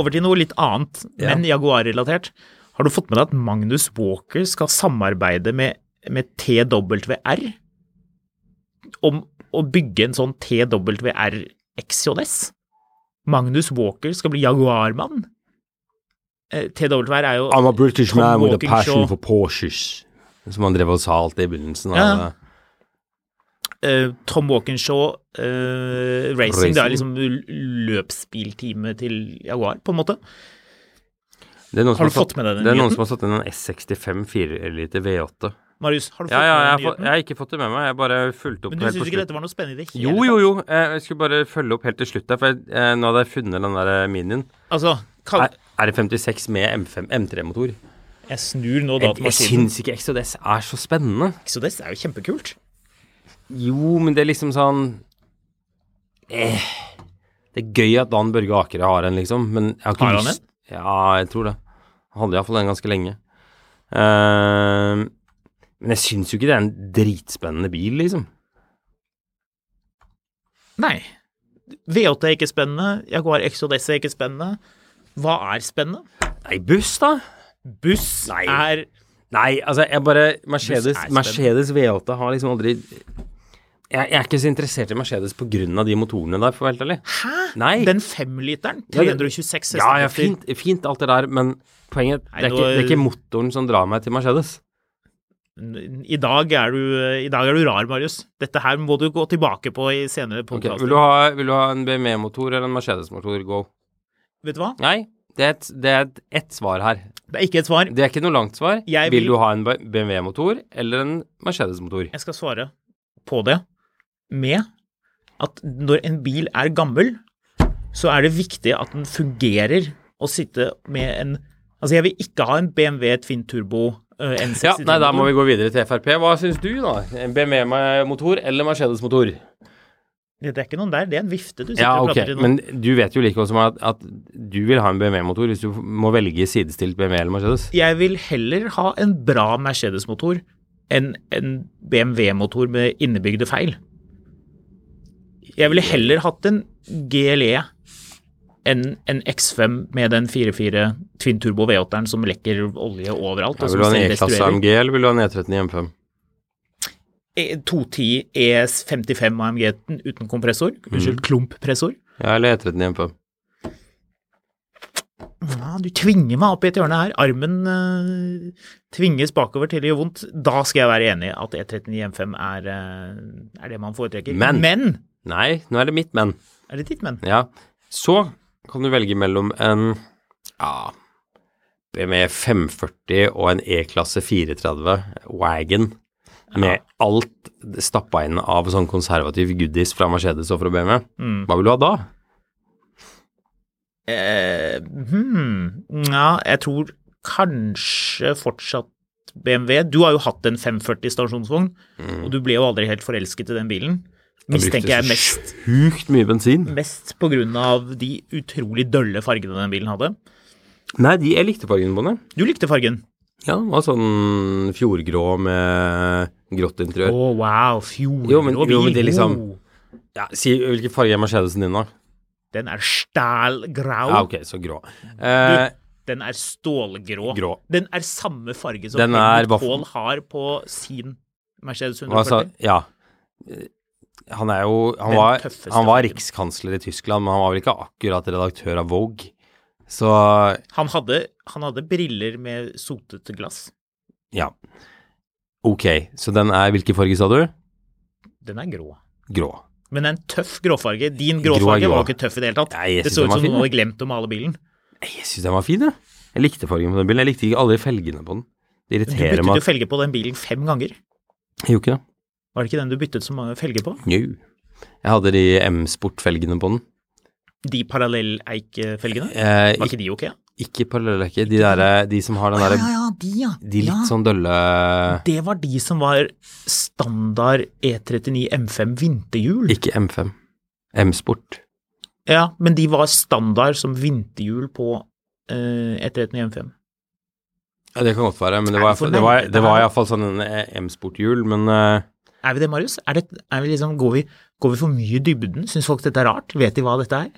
[SPEAKER 3] Over til noe litt annet,
[SPEAKER 2] Ja.
[SPEAKER 3] men Jaguar-relatert. Har du fått med deg at Magnus Walker skal samarbeide med, med TWR om å bygge en sånn TWR XJS? Magnus Walker skal bli Jaguar-mann. Eh, TWR er jo
[SPEAKER 2] I'm a British
[SPEAKER 3] Tom
[SPEAKER 2] man with a
[SPEAKER 3] Walking
[SPEAKER 2] passion
[SPEAKER 3] Shaw.
[SPEAKER 2] for Porsches. Som han drev og sa alltid i begynnelsen.
[SPEAKER 3] Ja.
[SPEAKER 2] av-
[SPEAKER 3] eh, Tom Walkinshaw eh, Racing,
[SPEAKER 2] Racing.
[SPEAKER 3] Det er liksom l- løpsbilteamet til Jaguar, på en måte.
[SPEAKER 2] Det er noen som
[SPEAKER 3] Har du
[SPEAKER 2] satt-
[SPEAKER 3] fått med deg den
[SPEAKER 2] Det er noen
[SPEAKER 3] nyheten?
[SPEAKER 2] som har satt inn en S65 4-liter V8
[SPEAKER 3] Marius, har du fått
[SPEAKER 2] Ja, ja, jeg har,
[SPEAKER 3] med
[SPEAKER 2] fått,
[SPEAKER 3] nyheten?
[SPEAKER 2] jeg har ikke fått det med meg. Jeg bare fulgte opp
[SPEAKER 3] Men du
[SPEAKER 2] helt på
[SPEAKER 3] syns ikke
[SPEAKER 2] slutten.
[SPEAKER 3] dette var noe spennende i det hele
[SPEAKER 2] Jo, jo, jo. Eh, Jeg skulle bare følge opp helt til slutt der, for jeg, eh, nå hadde jeg funnet den der eh, minien.
[SPEAKER 3] tatt? Altså, kall,
[SPEAKER 2] Er, er det 56 med M5, M3-motor?
[SPEAKER 3] jeg snur nå
[SPEAKER 2] Jeg, jeg
[SPEAKER 3] datamaskinen.
[SPEAKER 2] syns ikke XODS er så spennende.
[SPEAKER 3] Exodus er jo kjempekult.
[SPEAKER 2] Jo, men det er liksom sånn eh. Det er gøy at Dan Børge Akere har en, liksom, men jeg har ikke
[SPEAKER 3] Har han
[SPEAKER 2] lyst Ja, jeg tror det. Han hadde iallfall en ganske lenge. Eh, men jeg syns jo ikke det er en dritspennende bil, liksom.
[SPEAKER 3] Nei. V8 er ikke spennende. Jaguar Exodus er ikke spennende. Hva er spennende?
[SPEAKER 2] Nei, buss, da.
[SPEAKER 3] Buss
[SPEAKER 2] Nei.
[SPEAKER 3] er
[SPEAKER 2] Nei, altså, jeg bare Mercedes,
[SPEAKER 3] spennende.
[SPEAKER 2] Mercedes V8 har liksom aldri jeg, jeg er ikke så interessert i Mercedes på grunn av de motorene der, for å være helt ærlig.
[SPEAKER 3] Hæ?
[SPEAKER 2] Nei.
[SPEAKER 3] Den femliteren?
[SPEAKER 2] Ja, det-
[SPEAKER 3] 326
[SPEAKER 2] Ja, ja, fint, fint alt det der, men poenget
[SPEAKER 3] Nei,
[SPEAKER 2] det, er
[SPEAKER 3] nå-
[SPEAKER 2] ikke, det er ikke motoren som drar meg til Mercedes.
[SPEAKER 3] I dag, er du, I dag er du rar, Marius. Dette her må du gå tilbake på i senere
[SPEAKER 2] Ok,
[SPEAKER 3] podkaster.
[SPEAKER 2] vil, du ha, vil du ha en BMW-motor eller en Mercedes-motor? Go.
[SPEAKER 3] Vet du hva?
[SPEAKER 2] Nei, det er, et, det er et, ett svar her.
[SPEAKER 3] Det er ikke et svar.
[SPEAKER 2] Det er ikke noe langt svar.
[SPEAKER 3] Jeg
[SPEAKER 2] vil...
[SPEAKER 3] vil-
[SPEAKER 2] du ha en BMW-motor eller en Mercedes-motor?
[SPEAKER 3] Jeg skal svare på det med at når en bil er gammel, så er det viktig at den fungerer å sitte med en Altså, jeg vil ikke ha en BMW Twin Turbo eh, N63.
[SPEAKER 2] Ja, nei, da må vi gå videre til Frp. Hva syns du, da? En BMW-motor eller Mercedes-motor?
[SPEAKER 3] Det er ikke noen der, det er en vifte du sitter
[SPEAKER 2] Ja,
[SPEAKER 3] og
[SPEAKER 2] ok,
[SPEAKER 3] prater i nå.
[SPEAKER 2] men du vet jo like godt som meg at, at du vil ha en BMW-motor hvis du må velge sidestilt BMW eller Mercedes.
[SPEAKER 3] jeg vil heller ha en bra Mercedes-motor enn en BMW-motor med innebygde feil. Jeg ville heller hatt en GLE enn en X5 med den 4.4 Twin Turbo V8-eren som lekker olje overalt. og
[SPEAKER 2] Ja, vil
[SPEAKER 3] som
[SPEAKER 2] du ha en
[SPEAKER 3] selv
[SPEAKER 2] E-klasse
[SPEAKER 3] destruerer.
[SPEAKER 2] AMG eller vil du ha en E13 i M5?
[SPEAKER 3] E- 210 ES55 AMG uten kompressor.
[SPEAKER 2] Mm.
[SPEAKER 3] Unnskyld, klumppressor.
[SPEAKER 2] Ja, eller E E13 i M5.
[SPEAKER 3] Ja, du tvinger meg opp i et hjørne her. Armen eh, tvinges bakover til det gjør vondt. Da skal jeg være enig i at E39 M5 er, eh, er det man foretrekker.
[SPEAKER 2] Men- Nei, nå er det mitt men.
[SPEAKER 3] Er det ditt men?
[SPEAKER 2] Ja. Så kan du velge mellom en ja, BMW 540 og en E-klasse 430 Wagon med alt stappa inn av sånn konservativ goodies fra Mercedes og fra BMW.
[SPEAKER 3] Mm.
[SPEAKER 2] Hva vil du ha da?
[SPEAKER 3] Eh, hmm. Ja, jeg tror kanskje fortsatt BMW. Du har jo hatt en 540 stasjonsvogn,
[SPEAKER 2] Mm.
[SPEAKER 3] og du ble jo aldri helt forelsket i den bilen. Mistenker jeg mest
[SPEAKER 2] Sjukt mye bensin.
[SPEAKER 3] mest på grunn av de utrolig dølle fargene den bilen hadde.
[SPEAKER 2] Nei, de, jeg likte fargen på den.
[SPEAKER 3] Du likte fargen.
[SPEAKER 2] Ja, den var sånn fjordgrå med grått
[SPEAKER 3] Å,
[SPEAKER 2] interiør.
[SPEAKER 3] wow, fjordrå
[SPEAKER 2] Eh. Jo, men- jo, men det er liksom-
[SPEAKER 3] Oh.
[SPEAKER 2] Ja, si hvilken farge er Mercedesen din, da?
[SPEAKER 3] Den er stælgrau.
[SPEAKER 2] Ja, ok, så grå. Eh,
[SPEAKER 3] Den er stålgrå.
[SPEAKER 2] Grå.
[SPEAKER 3] Den er samme farge som
[SPEAKER 2] Den er
[SPEAKER 3] Helmut
[SPEAKER 2] hva-
[SPEAKER 3] Kohl har på sin Mercedes
[SPEAKER 2] hva
[SPEAKER 3] 140.
[SPEAKER 2] sa Altså, Ja. Eh, Han er jo Han
[SPEAKER 3] Den
[SPEAKER 2] var,
[SPEAKER 3] tøffeste
[SPEAKER 2] han var
[SPEAKER 3] fargen.
[SPEAKER 2] rikskansler i Tyskland, men han var vel ikke akkurat redaktør av Vogue. Så
[SPEAKER 3] Han, hadde, han hadde briller med sotete glass.
[SPEAKER 2] ja. Ok, så den er Hvilken farge sa du?
[SPEAKER 3] Den er grå.
[SPEAKER 2] Grå.
[SPEAKER 3] Men det er en tøff gråfarge. Din
[SPEAKER 2] Grå er
[SPEAKER 3] gråfarge
[SPEAKER 2] grå.
[SPEAKER 3] var jo ikke tøff i det hele tatt.
[SPEAKER 2] Nei, jeg
[SPEAKER 3] det
[SPEAKER 2] synes
[SPEAKER 3] så
[SPEAKER 2] den
[SPEAKER 3] ut
[SPEAKER 2] var
[SPEAKER 3] som
[SPEAKER 2] fin,
[SPEAKER 3] noen
[SPEAKER 2] jeg.
[SPEAKER 3] hadde glemt å male bilen.
[SPEAKER 2] Nei, Jeg syns den var fin, jeg. Jeg likte fargen på den bilen. Jeg likte ikke aldri felgene på den. Det
[SPEAKER 3] Du
[SPEAKER 2] irriterer
[SPEAKER 3] byttet
[SPEAKER 2] meg.
[SPEAKER 3] jo felge på den bilen fem ganger.
[SPEAKER 2] Jeg gjorde ikke det.
[SPEAKER 3] Var det ikke den du byttet så mange felger på?
[SPEAKER 2] Njau. Jeg hadde de M-sport-felgene på den.
[SPEAKER 3] De parallelleikfelgene?
[SPEAKER 2] Eh,
[SPEAKER 3] Var ikke de ok?
[SPEAKER 2] Ikke parallellrekke. De, derre- de som har den derre
[SPEAKER 3] ja, de, ja.
[SPEAKER 2] De litt sånn dølle
[SPEAKER 3] Det var de som var standard E39 M5 vinterhjul.
[SPEAKER 2] Ikke M5. M-sport.
[SPEAKER 3] Ja, men de var standard som vinterhjul på eh, E39 M5.
[SPEAKER 2] Ja, det kan godt være, men det
[SPEAKER 3] Er
[SPEAKER 2] var,
[SPEAKER 3] det for
[SPEAKER 2] det var,
[SPEAKER 3] langt,
[SPEAKER 2] det var
[SPEAKER 3] dette her?
[SPEAKER 2] iallfall sånn en eh, M-sport-hjul, men eh,
[SPEAKER 3] Er vi det, Marius? Er det, er vi liksom, går, vi, går vi for mye i dybden? Syns folk dette er rart? Vet de hva dette er?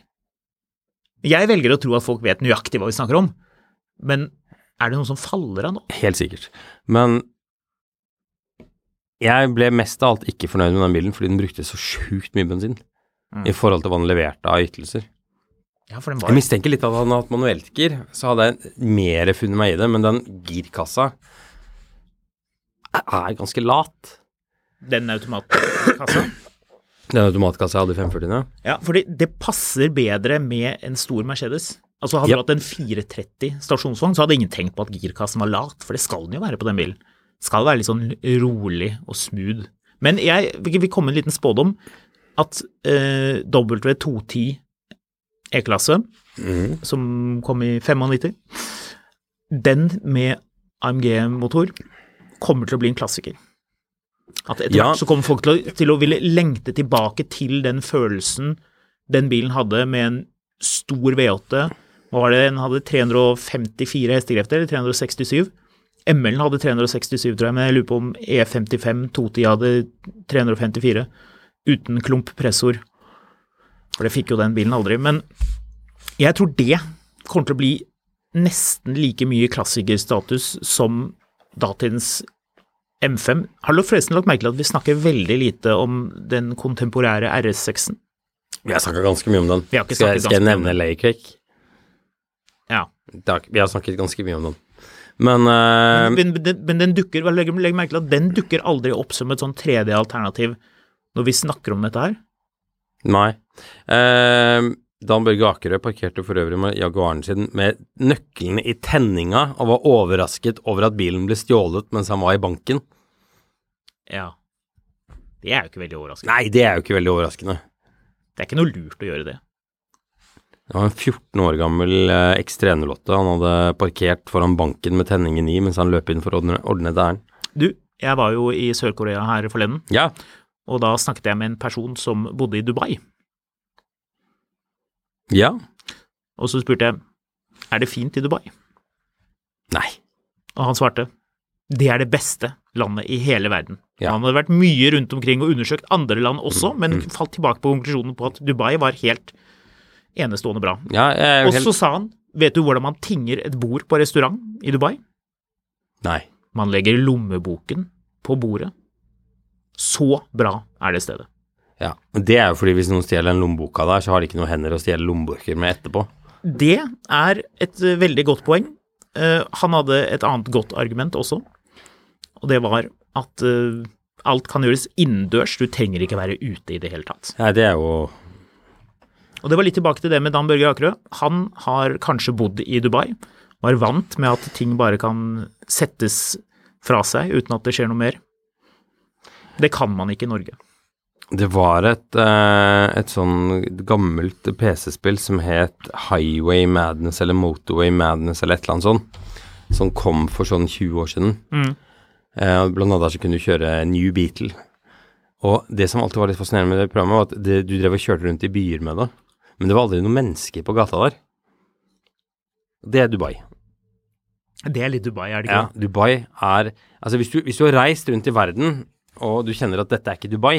[SPEAKER 3] Jeg velger å tro at folk vet nøyaktig hva vi snakker om, men er det noen som faller av nå?
[SPEAKER 2] helt sikkert. Men jeg ble mest av alt ikke fornøyd med den bilen fordi den brukte så sjukt mye bensin
[SPEAKER 3] Mm.
[SPEAKER 2] i forhold til hva den leverte av ytelser.
[SPEAKER 3] Ja, for den
[SPEAKER 2] Jeg
[SPEAKER 3] var
[SPEAKER 2] mistenker litt at hadde han hatt manuelt gir, så hadde jeg mer funnet meg i det, men den girkassa er ganske lat.
[SPEAKER 3] den automatkassa.
[SPEAKER 2] Den automatkassa jeg hadde i 540 nå.
[SPEAKER 3] Ja, fordi det passer bedre med en stor Mercedes. Altså Hadde
[SPEAKER 2] Ja.
[SPEAKER 3] du hatt en 430 stasjonsvogn, så hadde ingen tenkt på at girkassen var lat, for det skal den jo være på den bilen. skal være litt sånn rolig og smooth. Men jeg vil komme med en liten spådom at eh, W210 E-klasse, som kom i 95, den med AMG-motor kommer til å bli en klassiker. At etter
[SPEAKER 2] Ja.
[SPEAKER 3] hvert så kommer folk til å, til å ville lengte tilbake til den følelsen den bilen hadde med en stor V8. Hva var det, den hadde 354 hestekrefter, eller 367. ML-en hadde 367, tror jeg, men jeg lurer på om E E55 210 hadde 354. Uten klump pressord. For det fikk jo den bilen aldri. Men jeg tror det kommer til å bli nesten like mye klassikerstatus som datidens M5. Har du forresten lagt merke til at vi snakker veldig lite om den kontemporære RS6-en?
[SPEAKER 2] Vi har snakka ganske mye om den.
[SPEAKER 3] Vi har ikke
[SPEAKER 2] skal, jeg-
[SPEAKER 3] snakket
[SPEAKER 2] skal jeg
[SPEAKER 3] ganske mye om
[SPEAKER 2] nevne Laycake?
[SPEAKER 3] Ja.
[SPEAKER 2] Vi har snakket ganske mye om den. Men eh,
[SPEAKER 3] men, men, den- men den dukker, vel, legg, legg merke til at den dukker aldri opp som et sånn tredje alternativ når vi snakker om dette her.
[SPEAKER 2] Nei. Ehm, Dan Børge Akerø parkerte for øvrig med Jaguaren sin med nøklene i tenninga og var overrasket over at bilen ble stjålet mens han var i banken.
[SPEAKER 3] Ja. Det er jo ikke veldig overraskende.
[SPEAKER 2] Nei, det er jo ikke veldig overraskende.
[SPEAKER 3] Det er ikke noe lurt å gjøre det.
[SPEAKER 2] Det var en 14 år gammel eh, X308 han hadde parkert foran banken med tenningen i mens han løp inn for å ordne, ordne et ærend.
[SPEAKER 3] Du, jeg var jo i Sør-Korea her forleden,
[SPEAKER 2] Ja.
[SPEAKER 3] og da snakket jeg med en person som bodde i Dubai.
[SPEAKER 2] Ja.
[SPEAKER 3] Og så spurte jeg er det fint i Dubai,
[SPEAKER 2] Nei.
[SPEAKER 3] og han svarte det er det beste landet i hele verden.
[SPEAKER 2] Ja. Mm.
[SPEAKER 3] Han hadde vært mye rundt omkring og undersøkt andre land også, men falt tilbake på konklusjonen på at Dubai var helt enestående bra.
[SPEAKER 2] Ja, jeg er jo
[SPEAKER 3] Og så
[SPEAKER 2] helt
[SPEAKER 3] sa han, vet du hvordan man tinger et bord på restaurant i Dubai?
[SPEAKER 2] Nei.
[SPEAKER 3] Man legger lommeboken på bordet. Så bra er det stedet.
[SPEAKER 2] Ja. Men det er jo fordi hvis noen stjeler en lommebok av deg, så har de ikke noen hender å stjele lommeboker med etterpå.
[SPEAKER 3] Det er et eh, veldig godt poeng. Eh, han hadde et annet godt argument også, og det var at eh, alt kan gjøres innendørs, du trenger ikke være ute i det hele tatt.
[SPEAKER 2] Nei, det er jo
[SPEAKER 3] Og det var litt tilbake til det med Dan Børge Akerø. Han har kanskje bodd i Dubai, var vant med at ting bare kan settes fra seg uten at det skjer noe mer. Det kan man ikke i Norge.
[SPEAKER 2] Det var et, eh, et sånn gammelt PC-spill som het Highway Madness eller Motorway Madness eller et eller annet sånt, som kom for sånn 20 år siden. Eh, blant annet så kunne du kjøre New Beetle. Og det som alltid var litt fascinerende med det programmet, var at det, du drev og kjørte rundt i byer med det, men det var aldri noen mennesker på gata der. Det er Dubai.
[SPEAKER 3] Det er litt Dubai, er det ikke?
[SPEAKER 2] Ja, Dubai er Altså, hvis du, hvis du har reist rundt i verden, og du kjenner at dette er ikke Dubai,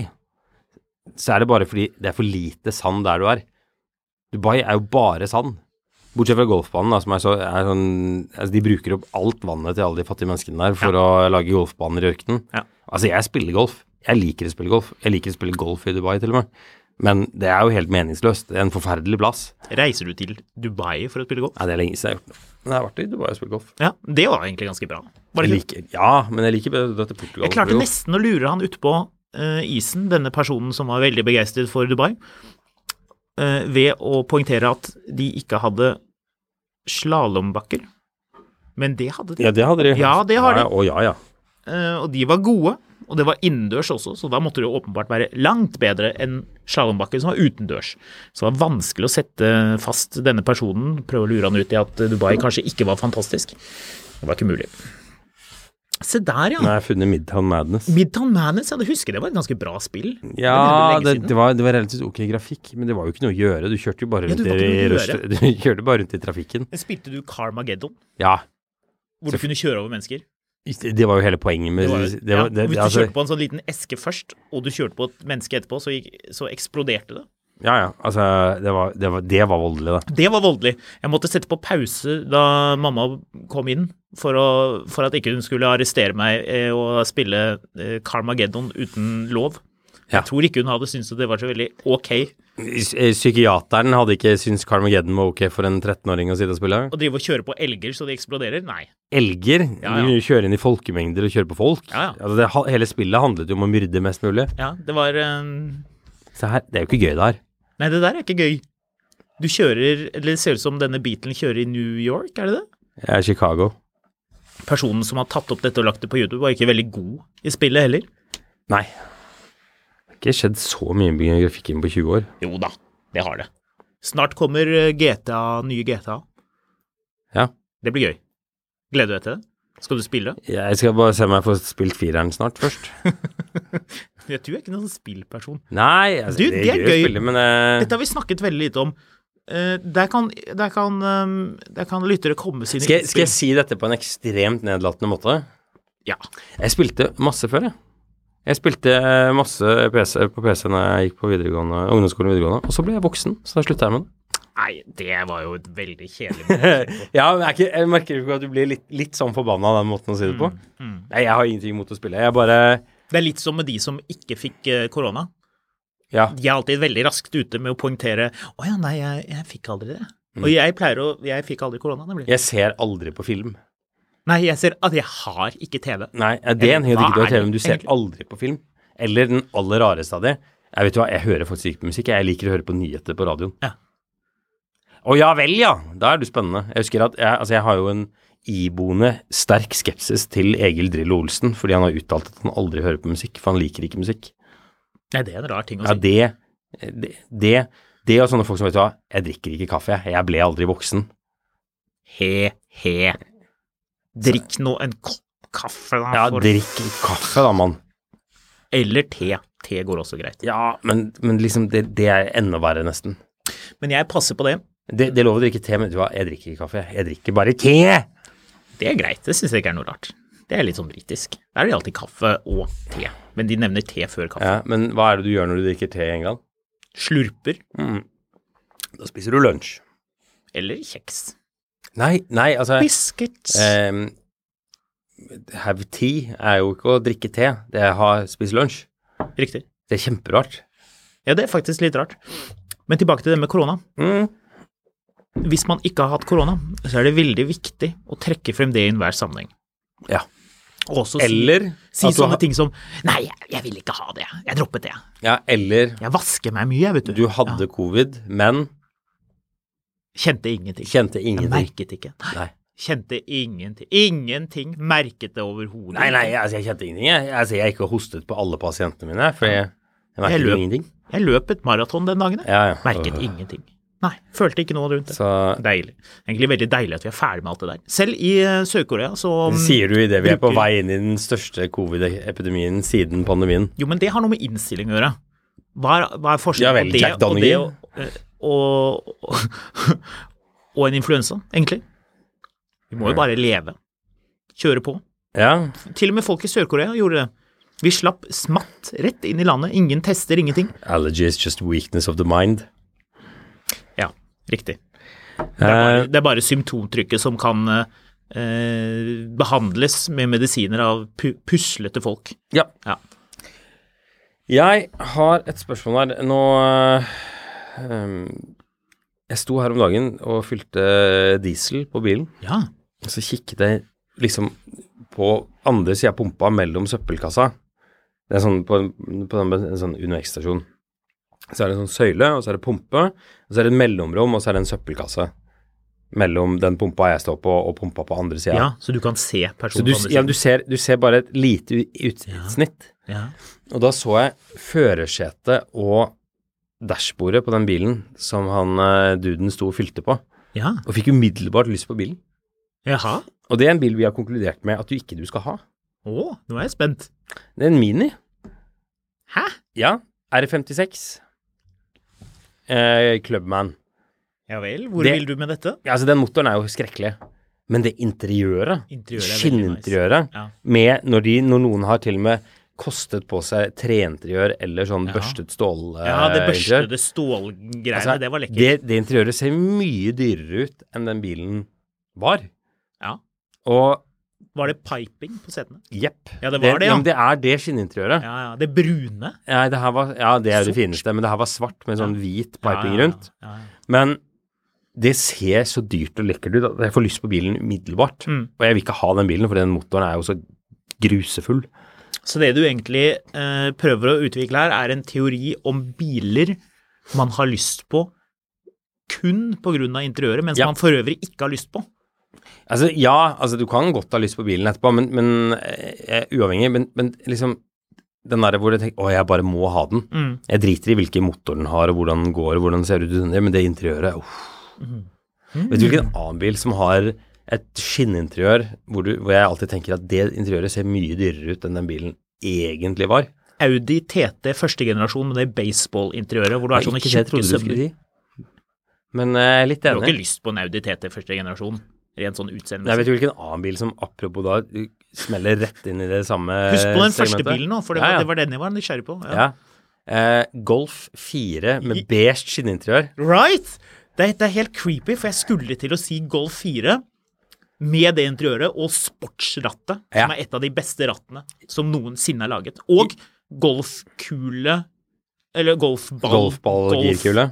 [SPEAKER 2] så er det bare fordi det er for lite sand der du er. Dubai er jo bare sand. Bortsett fra golfbanen, da, som er, så, er sånn altså, De bruker opp alt vannet til alle de fattige menneskene der for å lage golfbaner i ørkenen.
[SPEAKER 3] Ja.
[SPEAKER 2] Altså, jeg spiller golf. Jeg liker å spille golf. Jeg liker å spille golf i Dubai, til og med. Men det er jo helt meningsløst. Det er en forferdelig plass.
[SPEAKER 3] Reiser du til Dubai for å spille golf?
[SPEAKER 2] Nei, det er lenge siden jeg har gjort det. Men jeg har vært i Dubai og spilt golf.
[SPEAKER 3] Ja, det var egentlig ganske bra. Var
[SPEAKER 2] Jeg
[SPEAKER 3] det ikke?
[SPEAKER 2] liker, ja, men jeg liker bedre å dra til Portugal.
[SPEAKER 3] Jeg
[SPEAKER 2] og
[SPEAKER 3] klarte
[SPEAKER 2] spille golf.
[SPEAKER 3] nesten å lure han utpå uh, isen, denne personen som var veldig begeistret for Dubai, eh, ved å poengtere at de ikke hadde slalåmbakker. Men det hadde de.
[SPEAKER 2] Ja, det hadde de.
[SPEAKER 3] Ja, det har de.
[SPEAKER 2] Ja, å, ja, ja.
[SPEAKER 3] Eh, og de var gode. Og det var innendørs også, så da måtte det jo åpenbart være langt bedre enn slalåmbakken som var utendørs. Så det var vanskelig å sette fast denne personen, prøve å lure han ut i at Dubai kanskje ikke var fantastisk. Det var ikke mulig. Se der,
[SPEAKER 2] Nå
[SPEAKER 3] ja.
[SPEAKER 2] har jeg funnet Midtown Madness.
[SPEAKER 3] Midtown Madness, ja, du husker det var et ganske bra spill?
[SPEAKER 2] Ja, det,
[SPEAKER 3] det, begynner å bli lenge siden.
[SPEAKER 2] det, var, det var relativt ok grafikk, men det var jo ikke noe å gjøre. Du kjørte jo bare
[SPEAKER 3] Ja,
[SPEAKER 2] rundt,
[SPEAKER 3] det var
[SPEAKER 2] i,
[SPEAKER 3] ikke noe å
[SPEAKER 2] rush- du kjørte bare rundt i trafikken.
[SPEAKER 3] Men Spilte du Carmageddon,
[SPEAKER 2] Ja.
[SPEAKER 3] hvor du kunne kjøre over mennesker?
[SPEAKER 2] Det var jo hele poenget med
[SPEAKER 3] Det var,
[SPEAKER 2] det var,
[SPEAKER 3] ja,
[SPEAKER 2] det,
[SPEAKER 3] hvis du
[SPEAKER 2] altså,
[SPEAKER 3] kjørte på en sånn liten eske først, og du kjørte på et menneske etterpå, så, gikk, så eksploderte det.
[SPEAKER 2] Ja, ja. Altså, det var, det var, det var voldelig, det.
[SPEAKER 3] Det var voldelig. Jeg måtte sette på pause da mamma kom inn, for, å, for at ikke hun skulle arrestere meg eh, og spille eh, Carmageddon uten lov.
[SPEAKER 2] Ja.
[SPEAKER 3] Jeg tror ikke hun hadde syntes at det var så veldig ok
[SPEAKER 2] S- eh, Psykiateren hadde ikke syntes Carmageddon var ok for en 13-åring å sitte og spille.
[SPEAKER 3] å drive og kjøre på elger så de eksploderer. Nei.
[SPEAKER 2] Elger.
[SPEAKER 3] Ja, ja.
[SPEAKER 2] Du Kjøre inn i folkemengder og kjøre på folk.
[SPEAKER 3] Ja, ja.
[SPEAKER 2] Altså, det, ha- hele spillet handlet jo om å myrde mest mulig.
[SPEAKER 3] Ja, det var eh,
[SPEAKER 2] Se her, det er jo ikke gøy det her.
[SPEAKER 3] Nei, det der er ikke gøy. Du kjører Eller det ser ut som denne Beatlen kjører i New York, er det det?
[SPEAKER 2] Jeg er Chicago.
[SPEAKER 3] personen som har tatt opp dette og lagt det på YouTube, var ikke veldig god i spillet heller.
[SPEAKER 2] Nei. Det har ikke skjedd så mye med grafikken på 20 år.
[SPEAKER 3] Jo da, det har det. Snart kommer eh, GTA, nye GTA.
[SPEAKER 2] Ja.
[SPEAKER 3] Det blir gøy. Gleder du deg til det? Skal du spille?
[SPEAKER 2] Jeg skal bare se om jeg får spilt fireren snart først.
[SPEAKER 3] Jeg tror jeg er ikke noen sånn spillperson.
[SPEAKER 2] Nei, altså,
[SPEAKER 3] Du, det er
[SPEAKER 2] å
[SPEAKER 3] gøy.
[SPEAKER 2] spille, men eh,
[SPEAKER 3] Dette har vi snakket veldig lite om. Eh, Der kan, der kan, ehm, der kan lyttere komme sine
[SPEAKER 2] skal, jeg- skal jeg si dette på en ekstremt nedlatende måte?
[SPEAKER 3] Ja.
[SPEAKER 2] Jeg spilte masse før, jeg. Jeg spilte eh, masse PC, på PC når jeg gikk på videregående, ungdomsskolen og videregående, og så ble jeg voksen, så da slutta jeg med det.
[SPEAKER 3] Nei, det var jo et veldig kjedelig måte.
[SPEAKER 2] Ja, men jeg, er ikke, jeg merker ikke at du blir litt, litt sånn forbanna av den måten å si det på.
[SPEAKER 3] Mm.
[SPEAKER 2] Nei, jeg har ingenting imot å spille. Jeg bare
[SPEAKER 3] Det er litt som med de som ikke fikk eh, korona.
[SPEAKER 2] Ja.
[SPEAKER 3] De er alltid veldig raskt ute med å poengtere 'Å ja, nei, jeg, jeg fikk aldri det'. Og
[SPEAKER 2] Mm.
[SPEAKER 3] jeg pleier å Jeg fikk aldri korona, nemlig.
[SPEAKER 2] Jeg ser aldri på film.
[SPEAKER 3] Nei, jeg ser at jeg har ikke TV.
[SPEAKER 2] Nei, ja, det er en helt
[SPEAKER 3] Hva
[SPEAKER 2] riktig
[SPEAKER 3] er det
[SPEAKER 2] tv men du ser
[SPEAKER 3] egentlig?
[SPEAKER 2] aldri på film. Eller den aller rareste av de. Jeg vet du hva, jeg hører faktisk ikke på musikk. Jeg liker å høre på nyheter på radioen.
[SPEAKER 3] Ja.
[SPEAKER 2] Å ja vel, ja! Da er du spennende. Jeg husker at jeg, altså jeg har jo en iboende sterk skepsis til Egil Drillo Olsen, fordi han har uttalt at han aldri hører på musikk, for han liker ikke musikk.
[SPEAKER 3] Nei, det er en rar ting å
[SPEAKER 2] Ja,
[SPEAKER 3] si.
[SPEAKER 2] det Det, det, det og sånne folk som vet du hva, jeg drikker ikke kaffe, jeg. Jeg ble aldri voksen.
[SPEAKER 3] He-he. Drikk nå en kopp kaffe, da.
[SPEAKER 2] Ja,
[SPEAKER 3] for-
[SPEAKER 2] drikk kaffe da, mann.
[SPEAKER 3] Eller te. Te går også greit.
[SPEAKER 2] Ja, men, men liksom, det, det er enda verre, nesten.
[SPEAKER 3] Men jeg passer på det.
[SPEAKER 2] Det, det er lov å drikke te, men vet du hva, jeg drikker ikke kaffe. Jeg drikker bare te!
[SPEAKER 3] Det er greit. Det syns jeg ikke er noe rart. Det er litt sånn britisk. Der er det alltid kaffe og te. Men de nevner te før kaffe.
[SPEAKER 2] Ja, men hva er det du gjør når du drikker te i England?
[SPEAKER 3] Slurper
[SPEAKER 2] Da spiser du lunsj.
[SPEAKER 3] eller kjeks.
[SPEAKER 2] Nei, nei, altså
[SPEAKER 3] Biscuits.
[SPEAKER 2] ehm, Have tea er jo ikke å drikke te, det er å spise lunsj.
[SPEAKER 3] Riktig.
[SPEAKER 2] Det er kjemperart.
[SPEAKER 3] Ja, det er faktisk litt rart. Men tilbake til det med korona.
[SPEAKER 2] Mm.
[SPEAKER 3] Hvis man ikke har hatt korona, så er det veldig viktig å trekke frem det i enhver sammenheng.
[SPEAKER 2] Ja.
[SPEAKER 3] Og også
[SPEAKER 2] Eller
[SPEAKER 3] si, si
[SPEAKER 2] at du
[SPEAKER 3] sånne
[SPEAKER 2] ha-
[SPEAKER 3] ting som Nei, jeg, jeg vil ikke ha det. Jeg droppet det.
[SPEAKER 2] Ja, eller
[SPEAKER 3] Jeg vasker meg mye, jeg, vet du.
[SPEAKER 2] du hadde covid, men
[SPEAKER 3] Kjente ingenting.
[SPEAKER 2] kjente
[SPEAKER 3] Jeg
[SPEAKER 2] ingenting.
[SPEAKER 3] merket ikke.
[SPEAKER 2] Nei.
[SPEAKER 3] Kjente ingenting. Ingenting. Merket det overhodet
[SPEAKER 2] Nei, nei,
[SPEAKER 3] ikke.
[SPEAKER 2] altså, jeg kjente ingenting. Jeg, altså, jeg ikke hostet på alle pasientene mine, for jeg, jeg merket
[SPEAKER 3] Jeg løp.
[SPEAKER 2] ingenting.
[SPEAKER 3] Jeg løp et maraton den dagen, jeg.
[SPEAKER 2] Ja, ja.
[SPEAKER 3] Merket
[SPEAKER 2] Øh.
[SPEAKER 3] ingenting. Nei, følte ikke noe rundt det.
[SPEAKER 2] Så
[SPEAKER 3] Deilig. Egentlig veldig deilig at vi er ferdig med alt det der. Selv i eh, Sør-Korea så
[SPEAKER 2] det sier du idet vi er på
[SPEAKER 3] bruker-
[SPEAKER 2] vei inn i den største covid-epidemien siden pandemien.
[SPEAKER 3] Jo, men det har noe med innstilling å gjøre. Hva er, hva er forskjellen
[SPEAKER 2] Ja vel,
[SPEAKER 3] på det
[SPEAKER 2] Jack
[SPEAKER 3] og det
[SPEAKER 2] Donaghy.
[SPEAKER 3] og, og, og, og en influensa, egentlig? Vi må jo bare leve. Kjøre på.
[SPEAKER 2] Ja,
[SPEAKER 3] Til og med folk i Sør-Korea gjorde det. Vi slapp smatt rett inn i landet. Ingen tester, ingenting.
[SPEAKER 2] allergy is just weakness of the mind.
[SPEAKER 3] Ja, riktig. Det er
[SPEAKER 2] Eh.
[SPEAKER 3] bare, det er bare symptomtrykket som kan eh, eh, behandles med medisiner av pu puslete folk.
[SPEAKER 2] Ja.
[SPEAKER 3] Ja.
[SPEAKER 2] Jeg har et spørsmål her. Nå eh, um, Jeg sto her om dagen og fylte diesel på bilen.
[SPEAKER 3] ja.
[SPEAKER 2] Og så kikket jeg liksom på andre sida av pumpa mellom søppelkassa. Det er sånn på, på den, en sånn UnoX-stasjon. Så er det en sånn søyle, og så er det pumpe, og så er det en mellomrom, og så er det en søppelkasse. Mellom den pumpa jeg står på, og pumpa på andre sida.
[SPEAKER 3] ja, så du kan se
[SPEAKER 2] så
[SPEAKER 3] personen
[SPEAKER 2] du,
[SPEAKER 3] på andre
[SPEAKER 2] ja,
[SPEAKER 3] siden.
[SPEAKER 2] du, ser, du ser bare et lite u- utsnitt.
[SPEAKER 3] Ja.
[SPEAKER 2] Og da så jeg førersetet og dashbordet på den bilen som han eh, duden sto og fylte på,
[SPEAKER 3] ja.
[SPEAKER 2] og fikk umiddelbart lyst på bilen.
[SPEAKER 3] Jaha.
[SPEAKER 2] Og det er en bil vi har konkludert med at du ikke du skal ha.
[SPEAKER 3] Å, nå er jeg spent.
[SPEAKER 2] Det er en Mini.
[SPEAKER 3] Hæ?
[SPEAKER 2] Ja. R56. Eh, Clubman.
[SPEAKER 3] Ja vel, hvor
[SPEAKER 2] Det-
[SPEAKER 3] vil du med dette?
[SPEAKER 2] Ja, altså, den motoren er jo skrekkelig. Men det interiøret,
[SPEAKER 3] Interiøret er veldig nice.
[SPEAKER 2] skinninteriøret,
[SPEAKER 3] Ja.
[SPEAKER 2] med når, de, når noen har til og med kostet på seg treinteriør eller sånn
[SPEAKER 3] Ja.
[SPEAKER 2] børstet stålinteriør
[SPEAKER 3] Ja, det børstede stålgreiene,
[SPEAKER 2] Altså,
[SPEAKER 3] det var lekkert.
[SPEAKER 2] Det, det interiøret ser mye dyrere ut enn den bilen var.
[SPEAKER 3] Ja.
[SPEAKER 2] Og
[SPEAKER 3] Var det piping på setene?
[SPEAKER 2] jepp.
[SPEAKER 3] Ja, det var det, ja.
[SPEAKER 2] men det er det skinninteriøret. Ja.
[SPEAKER 3] Ja, ja. Det brune?
[SPEAKER 2] det her var, ja, det er det
[SPEAKER 3] Sort.
[SPEAKER 2] fineste, men det her var svart med sånn
[SPEAKER 3] Ja.
[SPEAKER 2] hvit
[SPEAKER 3] Ja,
[SPEAKER 2] piping
[SPEAKER 3] ja, ja,
[SPEAKER 2] rundt.
[SPEAKER 3] Ja, ja.
[SPEAKER 2] Men det ser så dyrt og lekkert ut at jeg får lyst på bilen umiddelbart.
[SPEAKER 3] Mm.
[SPEAKER 2] Og jeg vil ikke ha den bilen, for den motoren er jo så grusefull.
[SPEAKER 3] Så det du egentlig eh, prøver å utvikle her, er en teori om biler man har lyst på kun pga. interiøret, mens
[SPEAKER 2] Ja.
[SPEAKER 3] man for øvrig ikke har lyst på.
[SPEAKER 2] Altså, ja, altså du kan godt ha lyst på bilen etterpå, men, men eh, uavhengig, men, men liksom den der hvor du tenker å, jeg bare må ha den. Jeg driter i hvilken motor den har, og hvordan den går, og hvordan den ser ut under, men det interiøret uff. Vet du hvilken annen bil som har et skinninteriør hvor, du, hvor jeg alltid tenker at det interiøret ser mye dyrere ut enn den bilen egentlig var?
[SPEAKER 3] Audi TT første generasjon med det baseball-interiøret hvor du har sånne
[SPEAKER 2] Ikke det jeg
[SPEAKER 3] tjukke
[SPEAKER 2] trodde du skulle
[SPEAKER 3] sømmer.
[SPEAKER 2] si. Men eh, litt
[SPEAKER 3] Du har
[SPEAKER 2] enig.
[SPEAKER 3] ikke lyst på en Audi TT første generasjon, rent sånn
[SPEAKER 2] Jeg vet
[SPEAKER 3] utseendemessig.
[SPEAKER 2] jo hvilken annen bil som apropos da du smeller rett inn i det samme
[SPEAKER 3] Husk på den første
[SPEAKER 2] segmentet.
[SPEAKER 3] bilen nå, for det
[SPEAKER 2] Ja,
[SPEAKER 3] var,
[SPEAKER 2] ja.
[SPEAKER 3] det var den jeg var nysgjerrig på.
[SPEAKER 2] Ja. Eh, Golf 4 med beige skinninteriør.
[SPEAKER 3] Right? Det er, det er helt creepy, for jeg skulle til å si Golf 4 med det interiøret og sportsrattet,
[SPEAKER 2] Ja.
[SPEAKER 3] som er et av de beste rattene som noensinne er laget. Og golfkule Eller golfball.
[SPEAKER 2] Golfball og
[SPEAKER 3] golf-
[SPEAKER 2] girkule.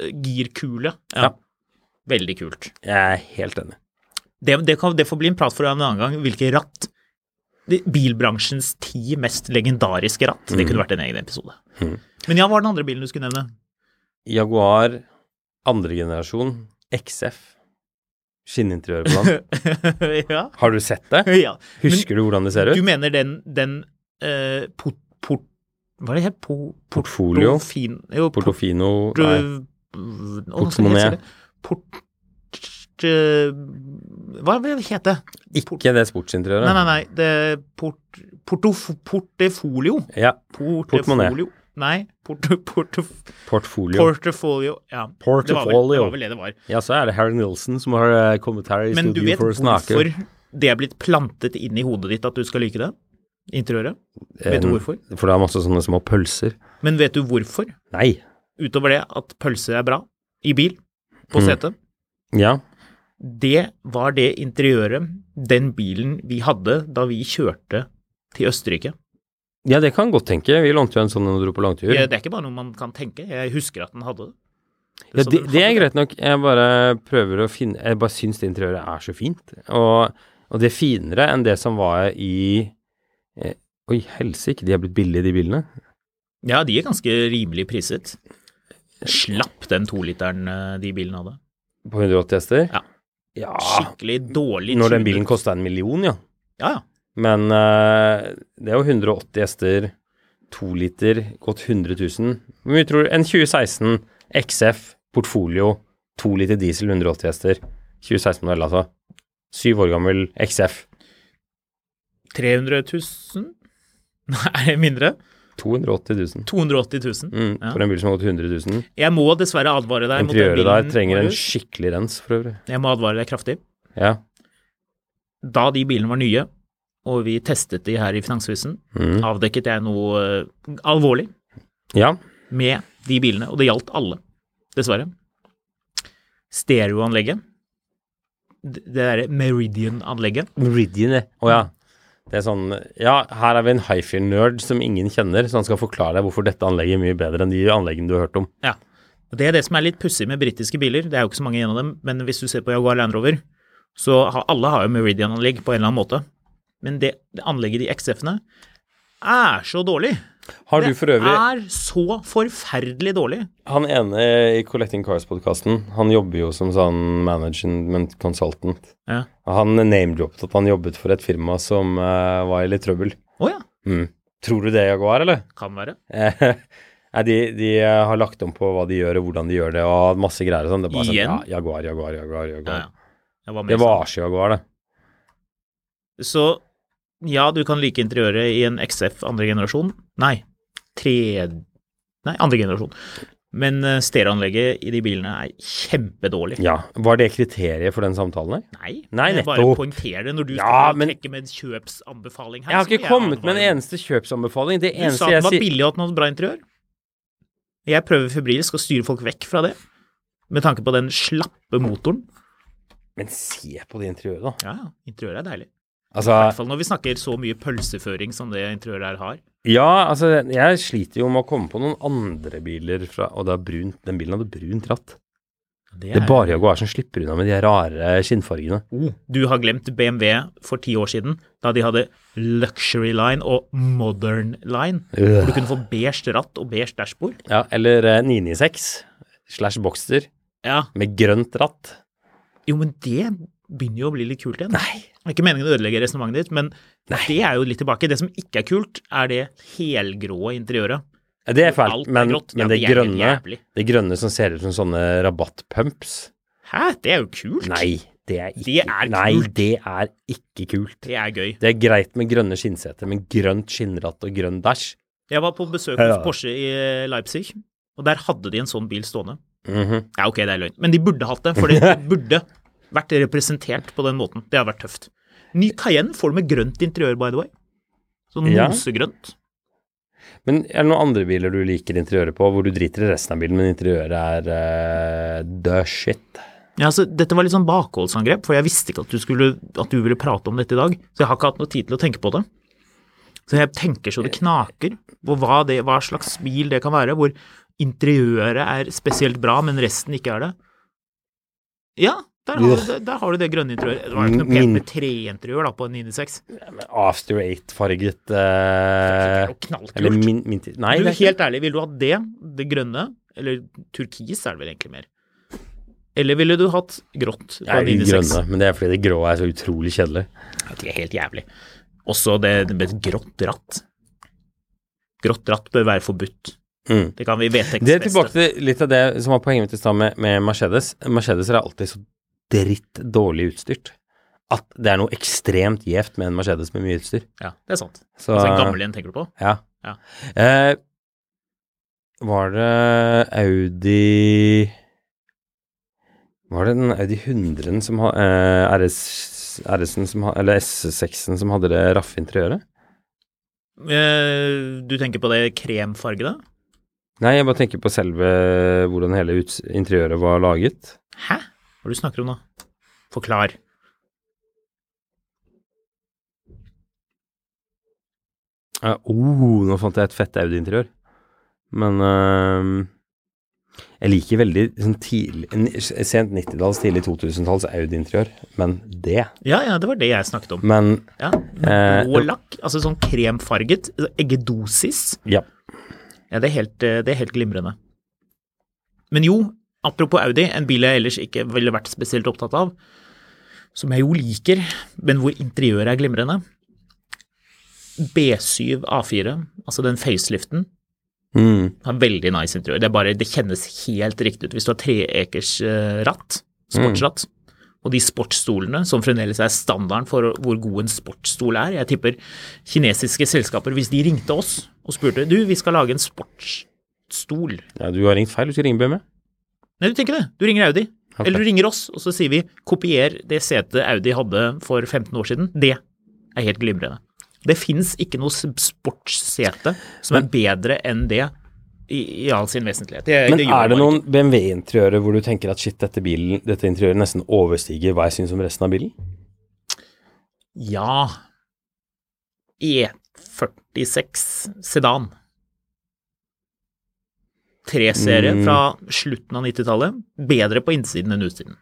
[SPEAKER 3] eh, Girkule. Ja.
[SPEAKER 2] Ja.
[SPEAKER 3] Veldig kult.
[SPEAKER 2] Jeg er helt enig.
[SPEAKER 3] Det, det, kan, det får bli en prat for en annen gang, hvilke ratt. De- Bilbransjens ti mest legendariske ratt. Det
[SPEAKER 2] Mm.
[SPEAKER 3] kunne vært en egen episode. Men ja, hva var den andre bilen du skulle nevne?
[SPEAKER 2] Jaguar andre generasjon XF. Skinninteriør på den.
[SPEAKER 3] ja.
[SPEAKER 2] Har du sett det?
[SPEAKER 3] ja. Men-
[SPEAKER 2] Husker du hvordan det ser ut?
[SPEAKER 3] Du mener den, den eh, port, port, Hva er det het? Po,
[SPEAKER 2] Portfolio?
[SPEAKER 3] Portofin, jo, port, eh,
[SPEAKER 2] Portofino Nei. Portemonnaie.
[SPEAKER 3] Portemonnaie. Port... eh, Hva er det det heter det?
[SPEAKER 2] Ikke det sportsinteriøret.
[SPEAKER 3] Nei, nei, nei. Det er port, portof, portefolio.
[SPEAKER 2] Ja. Portemonnaie.
[SPEAKER 3] Portefolio. Nei, porte, porte,
[SPEAKER 2] Portfolio.
[SPEAKER 3] portefolio. Ja. Det var, vel, det
[SPEAKER 2] Portefolio.
[SPEAKER 3] var vel det det var.
[SPEAKER 2] Ja, så er det Harry Nilsen som har eh, kommet her i
[SPEAKER 3] Men du
[SPEAKER 2] studio
[SPEAKER 3] vet
[SPEAKER 2] for å snakke.
[SPEAKER 3] hvorfor det er blitt plantet inn i hodet ditt at du skal like det? Interiøret? Vet du
[SPEAKER 2] Eh,
[SPEAKER 3] hvorfor?
[SPEAKER 2] For det er masse sånne små pølser.
[SPEAKER 3] Men vet du hvorfor?
[SPEAKER 2] Nei.
[SPEAKER 3] utover det at pølser er bra i bil,
[SPEAKER 2] Mm.
[SPEAKER 3] på setet,
[SPEAKER 2] Ja.
[SPEAKER 3] det var det interiøret den bilen vi hadde da vi kjørte til Østerrike.
[SPEAKER 2] ja, det kan godt tenke. Vi lånte jo en sånn da vi dro på langtur.
[SPEAKER 3] Det det er ikke bare noe man kan tenke, jeg husker at den hadde det.
[SPEAKER 2] Ja,
[SPEAKER 3] Så
[SPEAKER 2] det,
[SPEAKER 3] den
[SPEAKER 2] det er
[SPEAKER 3] hadde
[SPEAKER 2] greit nok. Jeg bare prøver å finne Jeg bare syns det interiøret er så fint. Og, og det er finere enn det som var i eh, Oi, helsike, de er blitt billige, de bilene.
[SPEAKER 3] Ja, de er ganske rimelig priset. Slapp den toliteren eh, de bilene hadde.
[SPEAKER 2] På 180 hester.
[SPEAKER 3] Ja.
[SPEAKER 2] Ja,
[SPEAKER 3] Skikkelig dårlig
[SPEAKER 2] Når den
[SPEAKER 3] tunet.
[SPEAKER 2] bilen kosta en million, ja.
[SPEAKER 3] Ja, ja.
[SPEAKER 2] Men eh, det er jo 180 hester, to liter, godt 100 000. Hvor mye tror du En 2016 XF Portfolio, to liter diesel, 180 hester. 2016-modell, altså. Syv år gammel XF.
[SPEAKER 3] 300 000? Nei, er det mindre?
[SPEAKER 2] 280 000.
[SPEAKER 3] 280 000.
[SPEAKER 2] Mm,
[SPEAKER 3] Ja.
[SPEAKER 2] For en bil som har gått 100 000.
[SPEAKER 3] Jeg må dessverre advare deg mot den
[SPEAKER 2] Interiøret der
[SPEAKER 3] bilen.
[SPEAKER 2] trenger en
[SPEAKER 3] Marius.
[SPEAKER 2] skikkelig rens, for øvrig.
[SPEAKER 3] Jeg må advare deg kraftig.
[SPEAKER 2] Ja.
[SPEAKER 3] da de bilene var nye, og vi testet de her i Finansvisen,
[SPEAKER 2] Mm.
[SPEAKER 3] avdekket jeg noe eh, alvorlig
[SPEAKER 2] ja.
[SPEAKER 3] med de bilene, og det gjaldt alle, dessverre. Stereoanlegget, d- det derre Meridian-anlegget,
[SPEAKER 2] Meridian, Å ja. Det er sånn Ja, her er vi en hifi-nerd som ingen kjenner, så han skal forklare deg hvorfor dette anlegget er mye bedre enn de anleggene du har hørt om.
[SPEAKER 3] ja. Og Det er det som er litt pussig med britiske biler, det er jo ikke så mange igjen av dem, men hvis du ser på Jaguar Land Rover, så har, alle har jo Meridian-anlegg på en eller annen måte. Men det, det anlegget i XF-ene er så dårlig.
[SPEAKER 2] Har du for øvrig
[SPEAKER 3] Det er så forferdelig dårlig.
[SPEAKER 2] Han ene i Collecting Cars-podkasten, han jobber jo som sånn management consultant.
[SPEAKER 3] Ja.
[SPEAKER 2] Og Han name-droppet at han jobbet for et firma som eh, var i litt trøbbel.
[SPEAKER 3] Å ja,
[SPEAKER 2] Mm. Tror du det, Jaguar, eller?
[SPEAKER 3] kan være.
[SPEAKER 2] Eh, Nei, de, de eh, har lagt om på hva de gjør og hvordan de gjør det, og masse greier og sånn. Det er bare
[SPEAKER 3] Igjen?
[SPEAKER 2] sånn ja, Jaguar, Jaguar, Jaguar.
[SPEAKER 3] Ja,
[SPEAKER 2] jaguar.
[SPEAKER 3] ja. Jeg var med
[SPEAKER 2] Det
[SPEAKER 3] i
[SPEAKER 2] var så Jaguar, det.
[SPEAKER 3] starten. Så ja, du kan like interiøret i en XF andre generasjon. Nei, tre... Nei, andre generasjon. Men eh, stereoanlegget i de bilene er kjempedårlig.
[SPEAKER 2] Ja. Var det kriteriet for den samtalen her?
[SPEAKER 3] Nei,
[SPEAKER 2] Nei,
[SPEAKER 3] jeg bare
[SPEAKER 2] nettopp.
[SPEAKER 3] poengterer det når du
[SPEAKER 2] Ja,
[SPEAKER 3] skal
[SPEAKER 2] men-
[SPEAKER 3] trekke med en kjøpsanbefaling her.
[SPEAKER 2] Jeg har
[SPEAKER 3] så vil
[SPEAKER 2] ikke kommet med en
[SPEAKER 3] advare.
[SPEAKER 2] eneste kjøpsanbefaling. Det
[SPEAKER 3] Du sa
[SPEAKER 2] eneste
[SPEAKER 3] at den
[SPEAKER 2] jeg
[SPEAKER 3] var
[SPEAKER 2] sier
[SPEAKER 3] billig og at den hadde bra interiør. Jeg prøver febrilsk å styre folk vekk fra det, med tanke på den slappe motoren.
[SPEAKER 2] Men se på det interiøret, da.
[SPEAKER 3] Ja, ja, interiøret er deilig. I hvert
[SPEAKER 2] Altså,
[SPEAKER 3] fall når vi snakker så mye pølseføring som det interiøret her har.
[SPEAKER 2] ja, altså, jeg sliter jo med å komme på noen andre biler fra Og det er brunt, den bilen hadde brunt ratt. Det er bare Jaguar som slipper unna med de her rare skinnfargene.
[SPEAKER 3] Oh, Du har glemt BMW for ti år siden, da de hadde luxury line og modern line. Hvor du kunne få beige ratt og beige dashbord.
[SPEAKER 2] Ja, eller eh, 996 slash Boxster
[SPEAKER 3] Ja.
[SPEAKER 2] med grønt ratt.
[SPEAKER 3] Jo, men det begynner jo å bli litt kult igjen. Nei. Det er ikke meningen å ødelegge resonnementet ditt, men det er jo litt tilbake. Det som ikke er kult, er det helgrå interiøret.
[SPEAKER 2] Ja, Det er
[SPEAKER 3] Alt
[SPEAKER 2] fælt,
[SPEAKER 3] er
[SPEAKER 2] men,
[SPEAKER 3] grått. Ja,
[SPEAKER 2] men det,
[SPEAKER 3] det er helt
[SPEAKER 2] grønne,
[SPEAKER 3] jævlig.
[SPEAKER 2] det grønne som ser ut som sånne rabattpumps
[SPEAKER 3] Hæ, det er jo kult!
[SPEAKER 2] Nei, det er ikke
[SPEAKER 3] Det er
[SPEAKER 2] Nei,
[SPEAKER 3] kult.
[SPEAKER 2] det er ikke kult.
[SPEAKER 3] Det er gøy.
[SPEAKER 2] Det er greit med grønne skinnseter, men grønt skinnratt og grønn dæsj
[SPEAKER 3] Jeg var på besøk
[SPEAKER 2] Ja.
[SPEAKER 3] hos Porsche i eh, Leipzig, og der hadde de en sånn bil stående.
[SPEAKER 2] Mhm.
[SPEAKER 3] Ja, ok, det er løgn. Men de burde hatt det, for det burde vært representert på den måten. Det hadde vært tøft. Ny Cayenne får du med grønt interiør, by the way. Sånn
[SPEAKER 2] Ja.
[SPEAKER 3] mosegrønt.
[SPEAKER 2] Men er det noen andre biler du liker interiøret på, hvor du driter i resten av bilen, men interiøret er eh, the shit?
[SPEAKER 3] Ja, altså, dette var litt sånn bakholdsangrep, for jeg visste ikke at du, skulle, at du ville prate om dette i dag. Så jeg har ikke hatt noe tid til å tenke på det. Så jeg tenker så det knaker på hva, det, hva slags bil det kan være, hvor interiøret er spesielt bra, men resten ikke er det. Ja, der har, du, det- der har du det grønne interiøret. Det var jo ikke noe pent med treinteriør da, på en 96.
[SPEAKER 2] After Eight-farget
[SPEAKER 3] Det er
[SPEAKER 2] eh,
[SPEAKER 3] jo knallkult.
[SPEAKER 2] Eller min, min tid Nei,
[SPEAKER 3] du,
[SPEAKER 2] det er ikke
[SPEAKER 3] helt ærlig, ville du hatt det, det grønne, eller turkis er det vel egentlig mer, eller ville du hatt grått? på
[SPEAKER 2] Nei,
[SPEAKER 3] en 96?
[SPEAKER 2] grønne, men det er fordi det grå er så utrolig kjedelig.
[SPEAKER 3] Ja, Det er helt jævlig. Også det, det med et grått ratt. Grått ratt bør være forbudt.
[SPEAKER 2] Mm.
[SPEAKER 3] Det kan vi
[SPEAKER 2] Det er tilbake
[SPEAKER 3] vedtektsfeste.
[SPEAKER 2] til litt av det som var poenget mitt i stad med, med Mercedes. Mercedeser er alltid så dritt dårlig utstyrt at det er noe ekstremt gjevt med en Mercedes med mye utstyr.
[SPEAKER 3] Ja, det er sant.
[SPEAKER 2] Så,
[SPEAKER 3] Altså en gammel en tenker du på?
[SPEAKER 2] Ja.
[SPEAKER 3] Ja.
[SPEAKER 2] Eh, var det Audi Var det den Audi 100-en som ha, eh, RS, RS-en som ha, Eller S6-en som hadde det raffe interiøret?
[SPEAKER 3] Eh, Du tenker på det kremfargede?
[SPEAKER 2] Nei, jeg bare tenker på selve hvordan hele uts interiøret var laget.
[SPEAKER 3] Hæ? Hva er det du snakker om nå? Forklar.
[SPEAKER 2] Eh, oh, nå fant jeg et fett Audi-interiør. Men eh, jeg liker veldig sånn tidlig, n- sent 90-talls, tidlig 2000-talls Audi-interiør. Men det
[SPEAKER 3] Ja, ja, det var det jeg snakket om.
[SPEAKER 2] Men
[SPEAKER 3] Ja,
[SPEAKER 2] Eh,
[SPEAKER 3] Blå lakk, altså sånn kremfarget, altså eggedosis.
[SPEAKER 2] ja.
[SPEAKER 3] Ja, det er helt, eh, det er helt glimrende. Men jo, apropos Audi, en bil jeg ellers ikke ville vært spesielt opptatt av, som jeg jo liker, men hvor interiøret er glimrende. B7 A4, altså den faceliften,
[SPEAKER 2] Mm.
[SPEAKER 3] har veldig nice interiør. Det, er bare, det kjennes helt riktig ut. Hvis du har treekers eh, ratt, sportsratt, og de sportsstolene, som fremdeles er standarden for hvor god en sportsstol er Jeg tipper kinesiske selskaper, hvis de ringte oss og spurte du, vi skal lage en sportsstol
[SPEAKER 2] ja, du har ringt feil. Du skal ringe BME.
[SPEAKER 3] Nei, du tenker det. Du ringer Audi.
[SPEAKER 2] Ok.
[SPEAKER 3] Eller du ringer oss, og så sier vi kopier det setet Audi hadde for 15 år siden. Det er helt glimrende. Det fins ikke noe s- sportssete som er bedre enn det i, i all sin vesentlighet. Det,
[SPEAKER 2] Men
[SPEAKER 3] det gjør
[SPEAKER 2] er det
[SPEAKER 3] bare
[SPEAKER 2] noen BMW-interiører hvor du tenker at shit, dette, bilen, dette interiøret nesten overstiger hva jeg syns om resten av bilen?
[SPEAKER 3] ikke. Ja. E46 sedan. Treserie
[SPEAKER 2] Mm.
[SPEAKER 3] fra slutten av 90-tallet. Bedre på innsiden enn utsiden.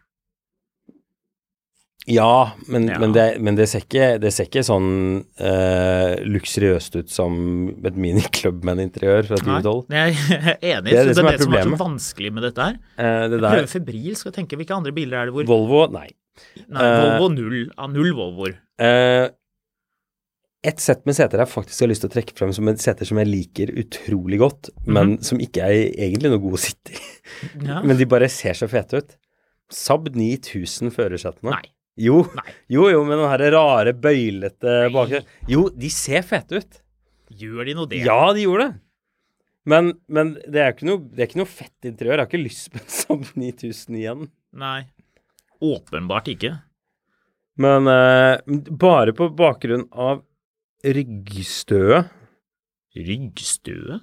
[SPEAKER 2] Ja, men,
[SPEAKER 3] Ja.
[SPEAKER 2] men, det, men det, ser ikke, det ser ikke sånn eh, luksuriøst ut som et miniclubman-interiør fra
[SPEAKER 3] Nei,
[SPEAKER 2] 2012.
[SPEAKER 3] jeg er enig.
[SPEAKER 2] Det er
[SPEAKER 3] så
[SPEAKER 2] det som er
[SPEAKER 3] som er
[SPEAKER 2] problemet.
[SPEAKER 3] så vanskelig med dette her.
[SPEAKER 2] Eh, det
[SPEAKER 3] Jeg
[SPEAKER 2] der
[SPEAKER 3] prøver febrilsk å tenke hvilke andre biler er det hvor
[SPEAKER 2] Volvo, nei.
[SPEAKER 3] Nei,
[SPEAKER 2] eh,
[SPEAKER 3] Volvo null av null Volvoer.
[SPEAKER 2] Eh, et sett med seter jeg faktisk har lyst til å trekke frem som et seter som jeg liker utrolig godt, men som ikke er egentlig noe god å sitte i.
[SPEAKER 3] Ja.
[SPEAKER 2] Men de bare ser så fete ut. Saab 9000 førersetene.
[SPEAKER 3] Nei.
[SPEAKER 2] Jo.
[SPEAKER 3] Nei.
[SPEAKER 2] jo, jo, med den her rare, bøylete bakgrunnen. Jo, de ser fete ut.
[SPEAKER 3] Gjør de noe det?
[SPEAKER 2] Ja, de gjorde det. Men, men det, er ikke noe, det er ikke noe fett interiør. Jeg har ikke lyst på en Saab 9000 igjen.
[SPEAKER 3] Nei. Åpenbart ikke.
[SPEAKER 2] Men eh, bare på bakgrunn av ryggstøet
[SPEAKER 3] Ryggstøe?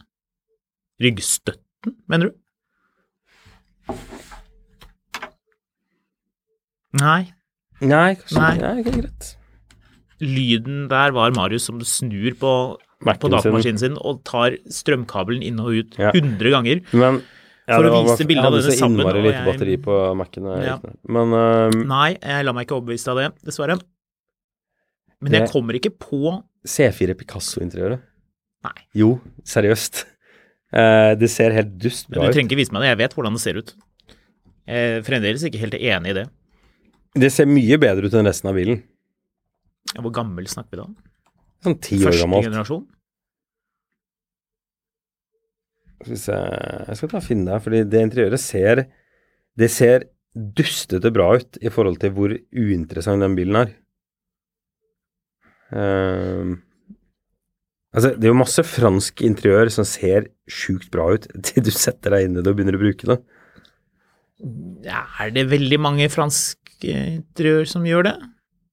[SPEAKER 3] Ryggstøtten, mener du? Nei.
[SPEAKER 2] Nei, kanskje
[SPEAKER 3] Nei.
[SPEAKER 2] Nei, ok, greit.
[SPEAKER 3] Lyden der var Marius som snur på, på
[SPEAKER 2] Mac-en sin.
[SPEAKER 3] datamaskinen sin og tar strømkabelen inn og ut
[SPEAKER 2] Ja.
[SPEAKER 3] 100 ganger.
[SPEAKER 2] Men
[SPEAKER 3] For å vise bildet av denne
[SPEAKER 2] Jeg hadde
[SPEAKER 3] sammen,
[SPEAKER 2] så innmari
[SPEAKER 3] og
[SPEAKER 2] lite
[SPEAKER 3] jeg-
[SPEAKER 2] batteri på Mac-en. da jeg
[SPEAKER 3] Ja.
[SPEAKER 2] gikk ned. Men eh,
[SPEAKER 3] Nei, jeg lar meg ikke overbevise av det, dessverre. Men jeg
[SPEAKER 2] Det-
[SPEAKER 3] kommer ikke på
[SPEAKER 2] C4 Picasso-interiøret
[SPEAKER 3] Nei.
[SPEAKER 2] Jo, seriøst. Eh, det ser helt dust
[SPEAKER 3] Men
[SPEAKER 2] bra
[SPEAKER 3] du
[SPEAKER 2] ut.
[SPEAKER 3] trenger ikke vise meg det, jeg vet hvordan det ser ut. Jeg er fremdeles ikke helt enig i det.
[SPEAKER 2] Det ser mye bedre ut enn resten av bilen.
[SPEAKER 3] Ja, Hvor gammel snakker vi da?
[SPEAKER 2] Sånn ti år
[SPEAKER 3] Første
[SPEAKER 2] gammelt.
[SPEAKER 3] generasjon?
[SPEAKER 2] Skal vi se Jeg skal ta og finne deg, fordi det interiøret ser Det ser dustete bra ut i forhold til hvor uinteressant den bilen er. Ehm, altså, det er jo masse fransk interiør som ser sjukt bra ut til du setter deg inn i det og begynner å bruke det.
[SPEAKER 3] Ja, er det veldig mange franske interiør som gjør det?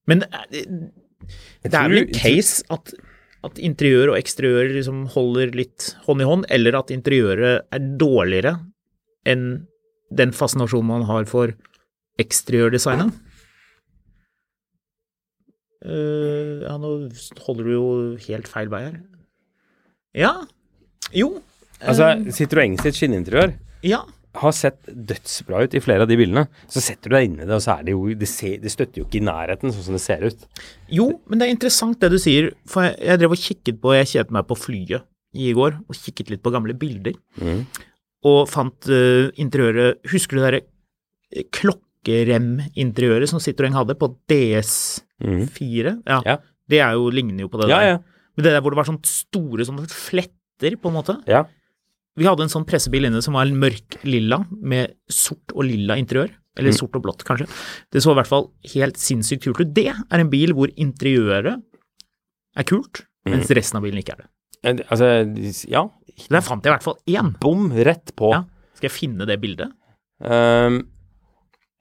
[SPEAKER 3] Men er det, det er
[SPEAKER 2] tror-
[SPEAKER 3] vel en case at, at interiør og eksteriør liksom holder litt hånd i hånd, eller at interiøret er dårligere enn den fascinasjonen man har for eksteriørdesignet? Eh, ja, nå holder du jo helt feil vei her. Ja. Jo.
[SPEAKER 2] Altså, sitter du engst i et skinninteriør,
[SPEAKER 3] Ja.
[SPEAKER 2] har sett dødsbra ut i flere av de bilene, så setter du deg inn i det, og så er det jo Det, ser, det støtter jo ikke i nærheten sånn som det ser ut.
[SPEAKER 3] Jo, men det er interessant det du sier, for jeg, jeg drev og kikket på, jeg kjedet meg på flyet i går, og kikket litt på gamle bilder,
[SPEAKER 2] Mm.
[SPEAKER 3] og fant eh, interiøret, husker du det der eh, klokkerem-interiøret som Citroën hadde på DS4? Ja,
[SPEAKER 2] Mm. Ja.
[SPEAKER 3] det er jo, ligner jo på det
[SPEAKER 2] Ja,
[SPEAKER 3] der.
[SPEAKER 2] ja.
[SPEAKER 3] Men det der hvor det var sånne store sånne fletter, på en måte.
[SPEAKER 2] Ja.
[SPEAKER 3] Vi hadde en sånn pressebil inne som var mørk lilla, med sort og lilla interiør. Eller sort og blått, kanskje. Det så i hvert fall helt sinnssykt kult ut. Det er en bil hvor interiøret er kult, mens resten av bilen ikke er det.
[SPEAKER 2] Eh, Altså, ja.
[SPEAKER 3] Så der fant jeg i hvert fall én.
[SPEAKER 2] Bom rett på.
[SPEAKER 3] Ja. Skal jeg finne det bildet?
[SPEAKER 2] Ehm,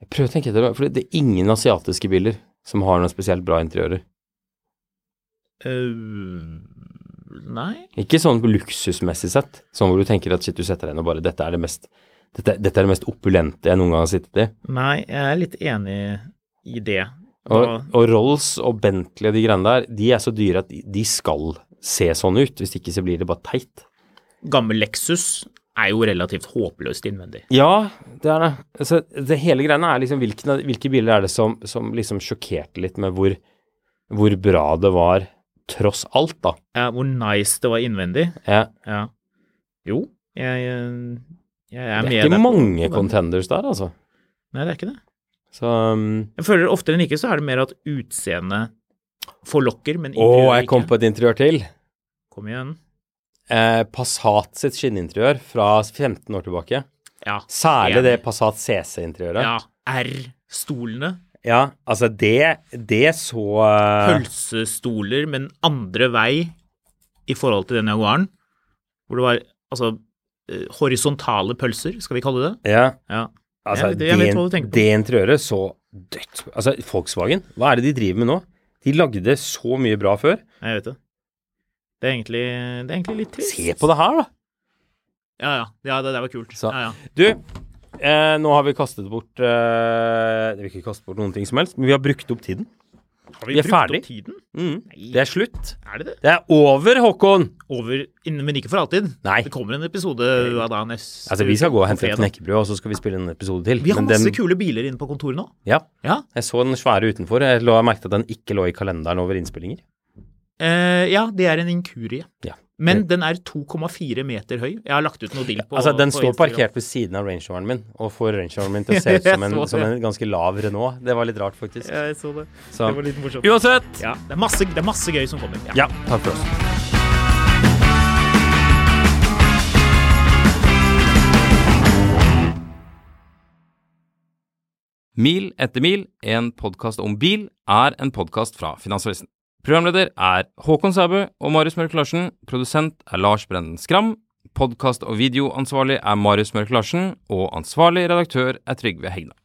[SPEAKER 2] jeg prøver å tenke etter, for det er ingen asiatiske biler som har noe spesielt bra interiører.
[SPEAKER 3] Eh, nei
[SPEAKER 2] Ikke sånn luksusmessig sett, sånn hvor du tenker at shit, du setter deg inn og bare dette er det mest dette, dette er det mest opulente jeg noen gang har sittet i.
[SPEAKER 3] Nei, jeg er litt enig i det.
[SPEAKER 2] Og,
[SPEAKER 3] Da-
[SPEAKER 2] og Rolls og Bentley og de greiene der, de er så dyre at de- de skal se sånn ut. Hvis ikke så blir det bare teit.
[SPEAKER 3] Gammel Lexus er jo relativt håpløst innvendig.
[SPEAKER 2] Ja, det er det. Altså, det hele greiene er liksom hvilken, av- hvilke biler er det som, som liksom sjokkerte litt med hvor, hvor bra det var tross alt, da.
[SPEAKER 3] Ja, hvor nice det var innvendig.
[SPEAKER 2] Ja.
[SPEAKER 3] Ja. Jo, jeg, eh, jeg er med
[SPEAKER 2] det er ikke
[SPEAKER 3] deg på-
[SPEAKER 2] mange
[SPEAKER 3] på den.
[SPEAKER 2] contenders der, altså.
[SPEAKER 3] Nei, det er ikke det.
[SPEAKER 2] Så um,
[SPEAKER 3] Jeg føler oftere enn ikke så er det mer at utseendet forlokker, men
[SPEAKER 2] Å,
[SPEAKER 3] interiøret
[SPEAKER 2] jeg kom
[SPEAKER 3] ikke.
[SPEAKER 2] på et interiør til.
[SPEAKER 3] Kom igjen.
[SPEAKER 2] Eh, Passat sitt skinninteriør fra 15 år tilbake.
[SPEAKER 3] Ja.
[SPEAKER 2] Særlig
[SPEAKER 3] enig.
[SPEAKER 2] det Passat CC-interiøret.
[SPEAKER 3] Ja. R-stolene.
[SPEAKER 2] altså det, det så eh,
[SPEAKER 3] Pølsestoler, men andre vei i forhold til den Jaguaren. Hvor det var altså eh, horisontale pølser, skal vi kalle det.
[SPEAKER 2] Ja,
[SPEAKER 3] Ja.
[SPEAKER 2] altså
[SPEAKER 3] Jeg vet- jeg vet hva du
[SPEAKER 2] det,
[SPEAKER 3] tenker på.
[SPEAKER 2] det interiøret så dødt Altså, Volkswagen, hva er det de driver med nå? De lagde så mye bra før.
[SPEAKER 3] Jeg vet det. Det er egentlig, det er egentlig litt trist.
[SPEAKER 2] Se på det her, da!
[SPEAKER 3] Ja, ja. ja det der var kult.
[SPEAKER 2] Så-
[SPEAKER 3] Ja, ja.
[SPEAKER 2] Du, eh, nå har vi kastet bort eh, Vi har ikke kastet bort noen ting som helst, men vi har brukt opp tiden.
[SPEAKER 3] Har
[SPEAKER 2] vi er
[SPEAKER 3] brukt opp
[SPEAKER 2] ferdig.
[SPEAKER 3] Tiden?
[SPEAKER 2] Det er slutt.
[SPEAKER 3] Er det det?
[SPEAKER 2] Det er over, Håkon!
[SPEAKER 3] Over, innen- men ikke for alltid.
[SPEAKER 2] Nei.
[SPEAKER 3] Det kommer en episode av da neste
[SPEAKER 2] Altså, vi skal gå og hente et
[SPEAKER 3] fredag.
[SPEAKER 2] knekkebrød, og så skal vi spille en episode til.
[SPEAKER 3] Vi har
[SPEAKER 2] Men
[SPEAKER 3] masse
[SPEAKER 2] den-
[SPEAKER 3] kule biler inne på kontoret nå.
[SPEAKER 2] Ja.
[SPEAKER 3] Ja.
[SPEAKER 2] Jeg så den svære utenfor. Jeg, lå, jeg merket at den ikke lå i kalenderen over innspillinger.
[SPEAKER 3] Eh, ja, det er en inkurie.
[SPEAKER 2] Ja.
[SPEAKER 3] Men den er 2,4 meter høy. Jeg har lagt ut noe dill på
[SPEAKER 2] altså, den
[SPEAKER 3] på
[SPEAKER 2] står
[SPEAKER 3] Instagram.
[SPEAKER 2] parkert ved siden av rangeoveren min, og får rangeoveren min til å se ut som en,
[SPEAKER 3] Jeg så
[SPEAKER 2] som
[SPEAKER 3] det.
[SPEAKER 2] en ganske lav Renault. Det var litt rart, faktisk.
[SPEAKER 3] Ja, jeg så det.
[SPEAKER 2] Så
[SPEAKER 3] Det var litt morsomt.
[SPEAKER 2] uansett
[SPEAKER 3] Ja, det er masse, det er masse gøy som kommer.
[SPEAKER 2] Ja, takk for oss.
[SPEAKER 4] Mil etter mil, en podkast om bil, er en podkast fra Finansavisen. Programleder er Håkon Sæbø og Marius Mørk Larsen. Produsent er Lars Brenden Skram. Podkast- og videoansvarlig er Marius Mørk Larsen. Og ansvarlig redaktør er Trygve Hegna.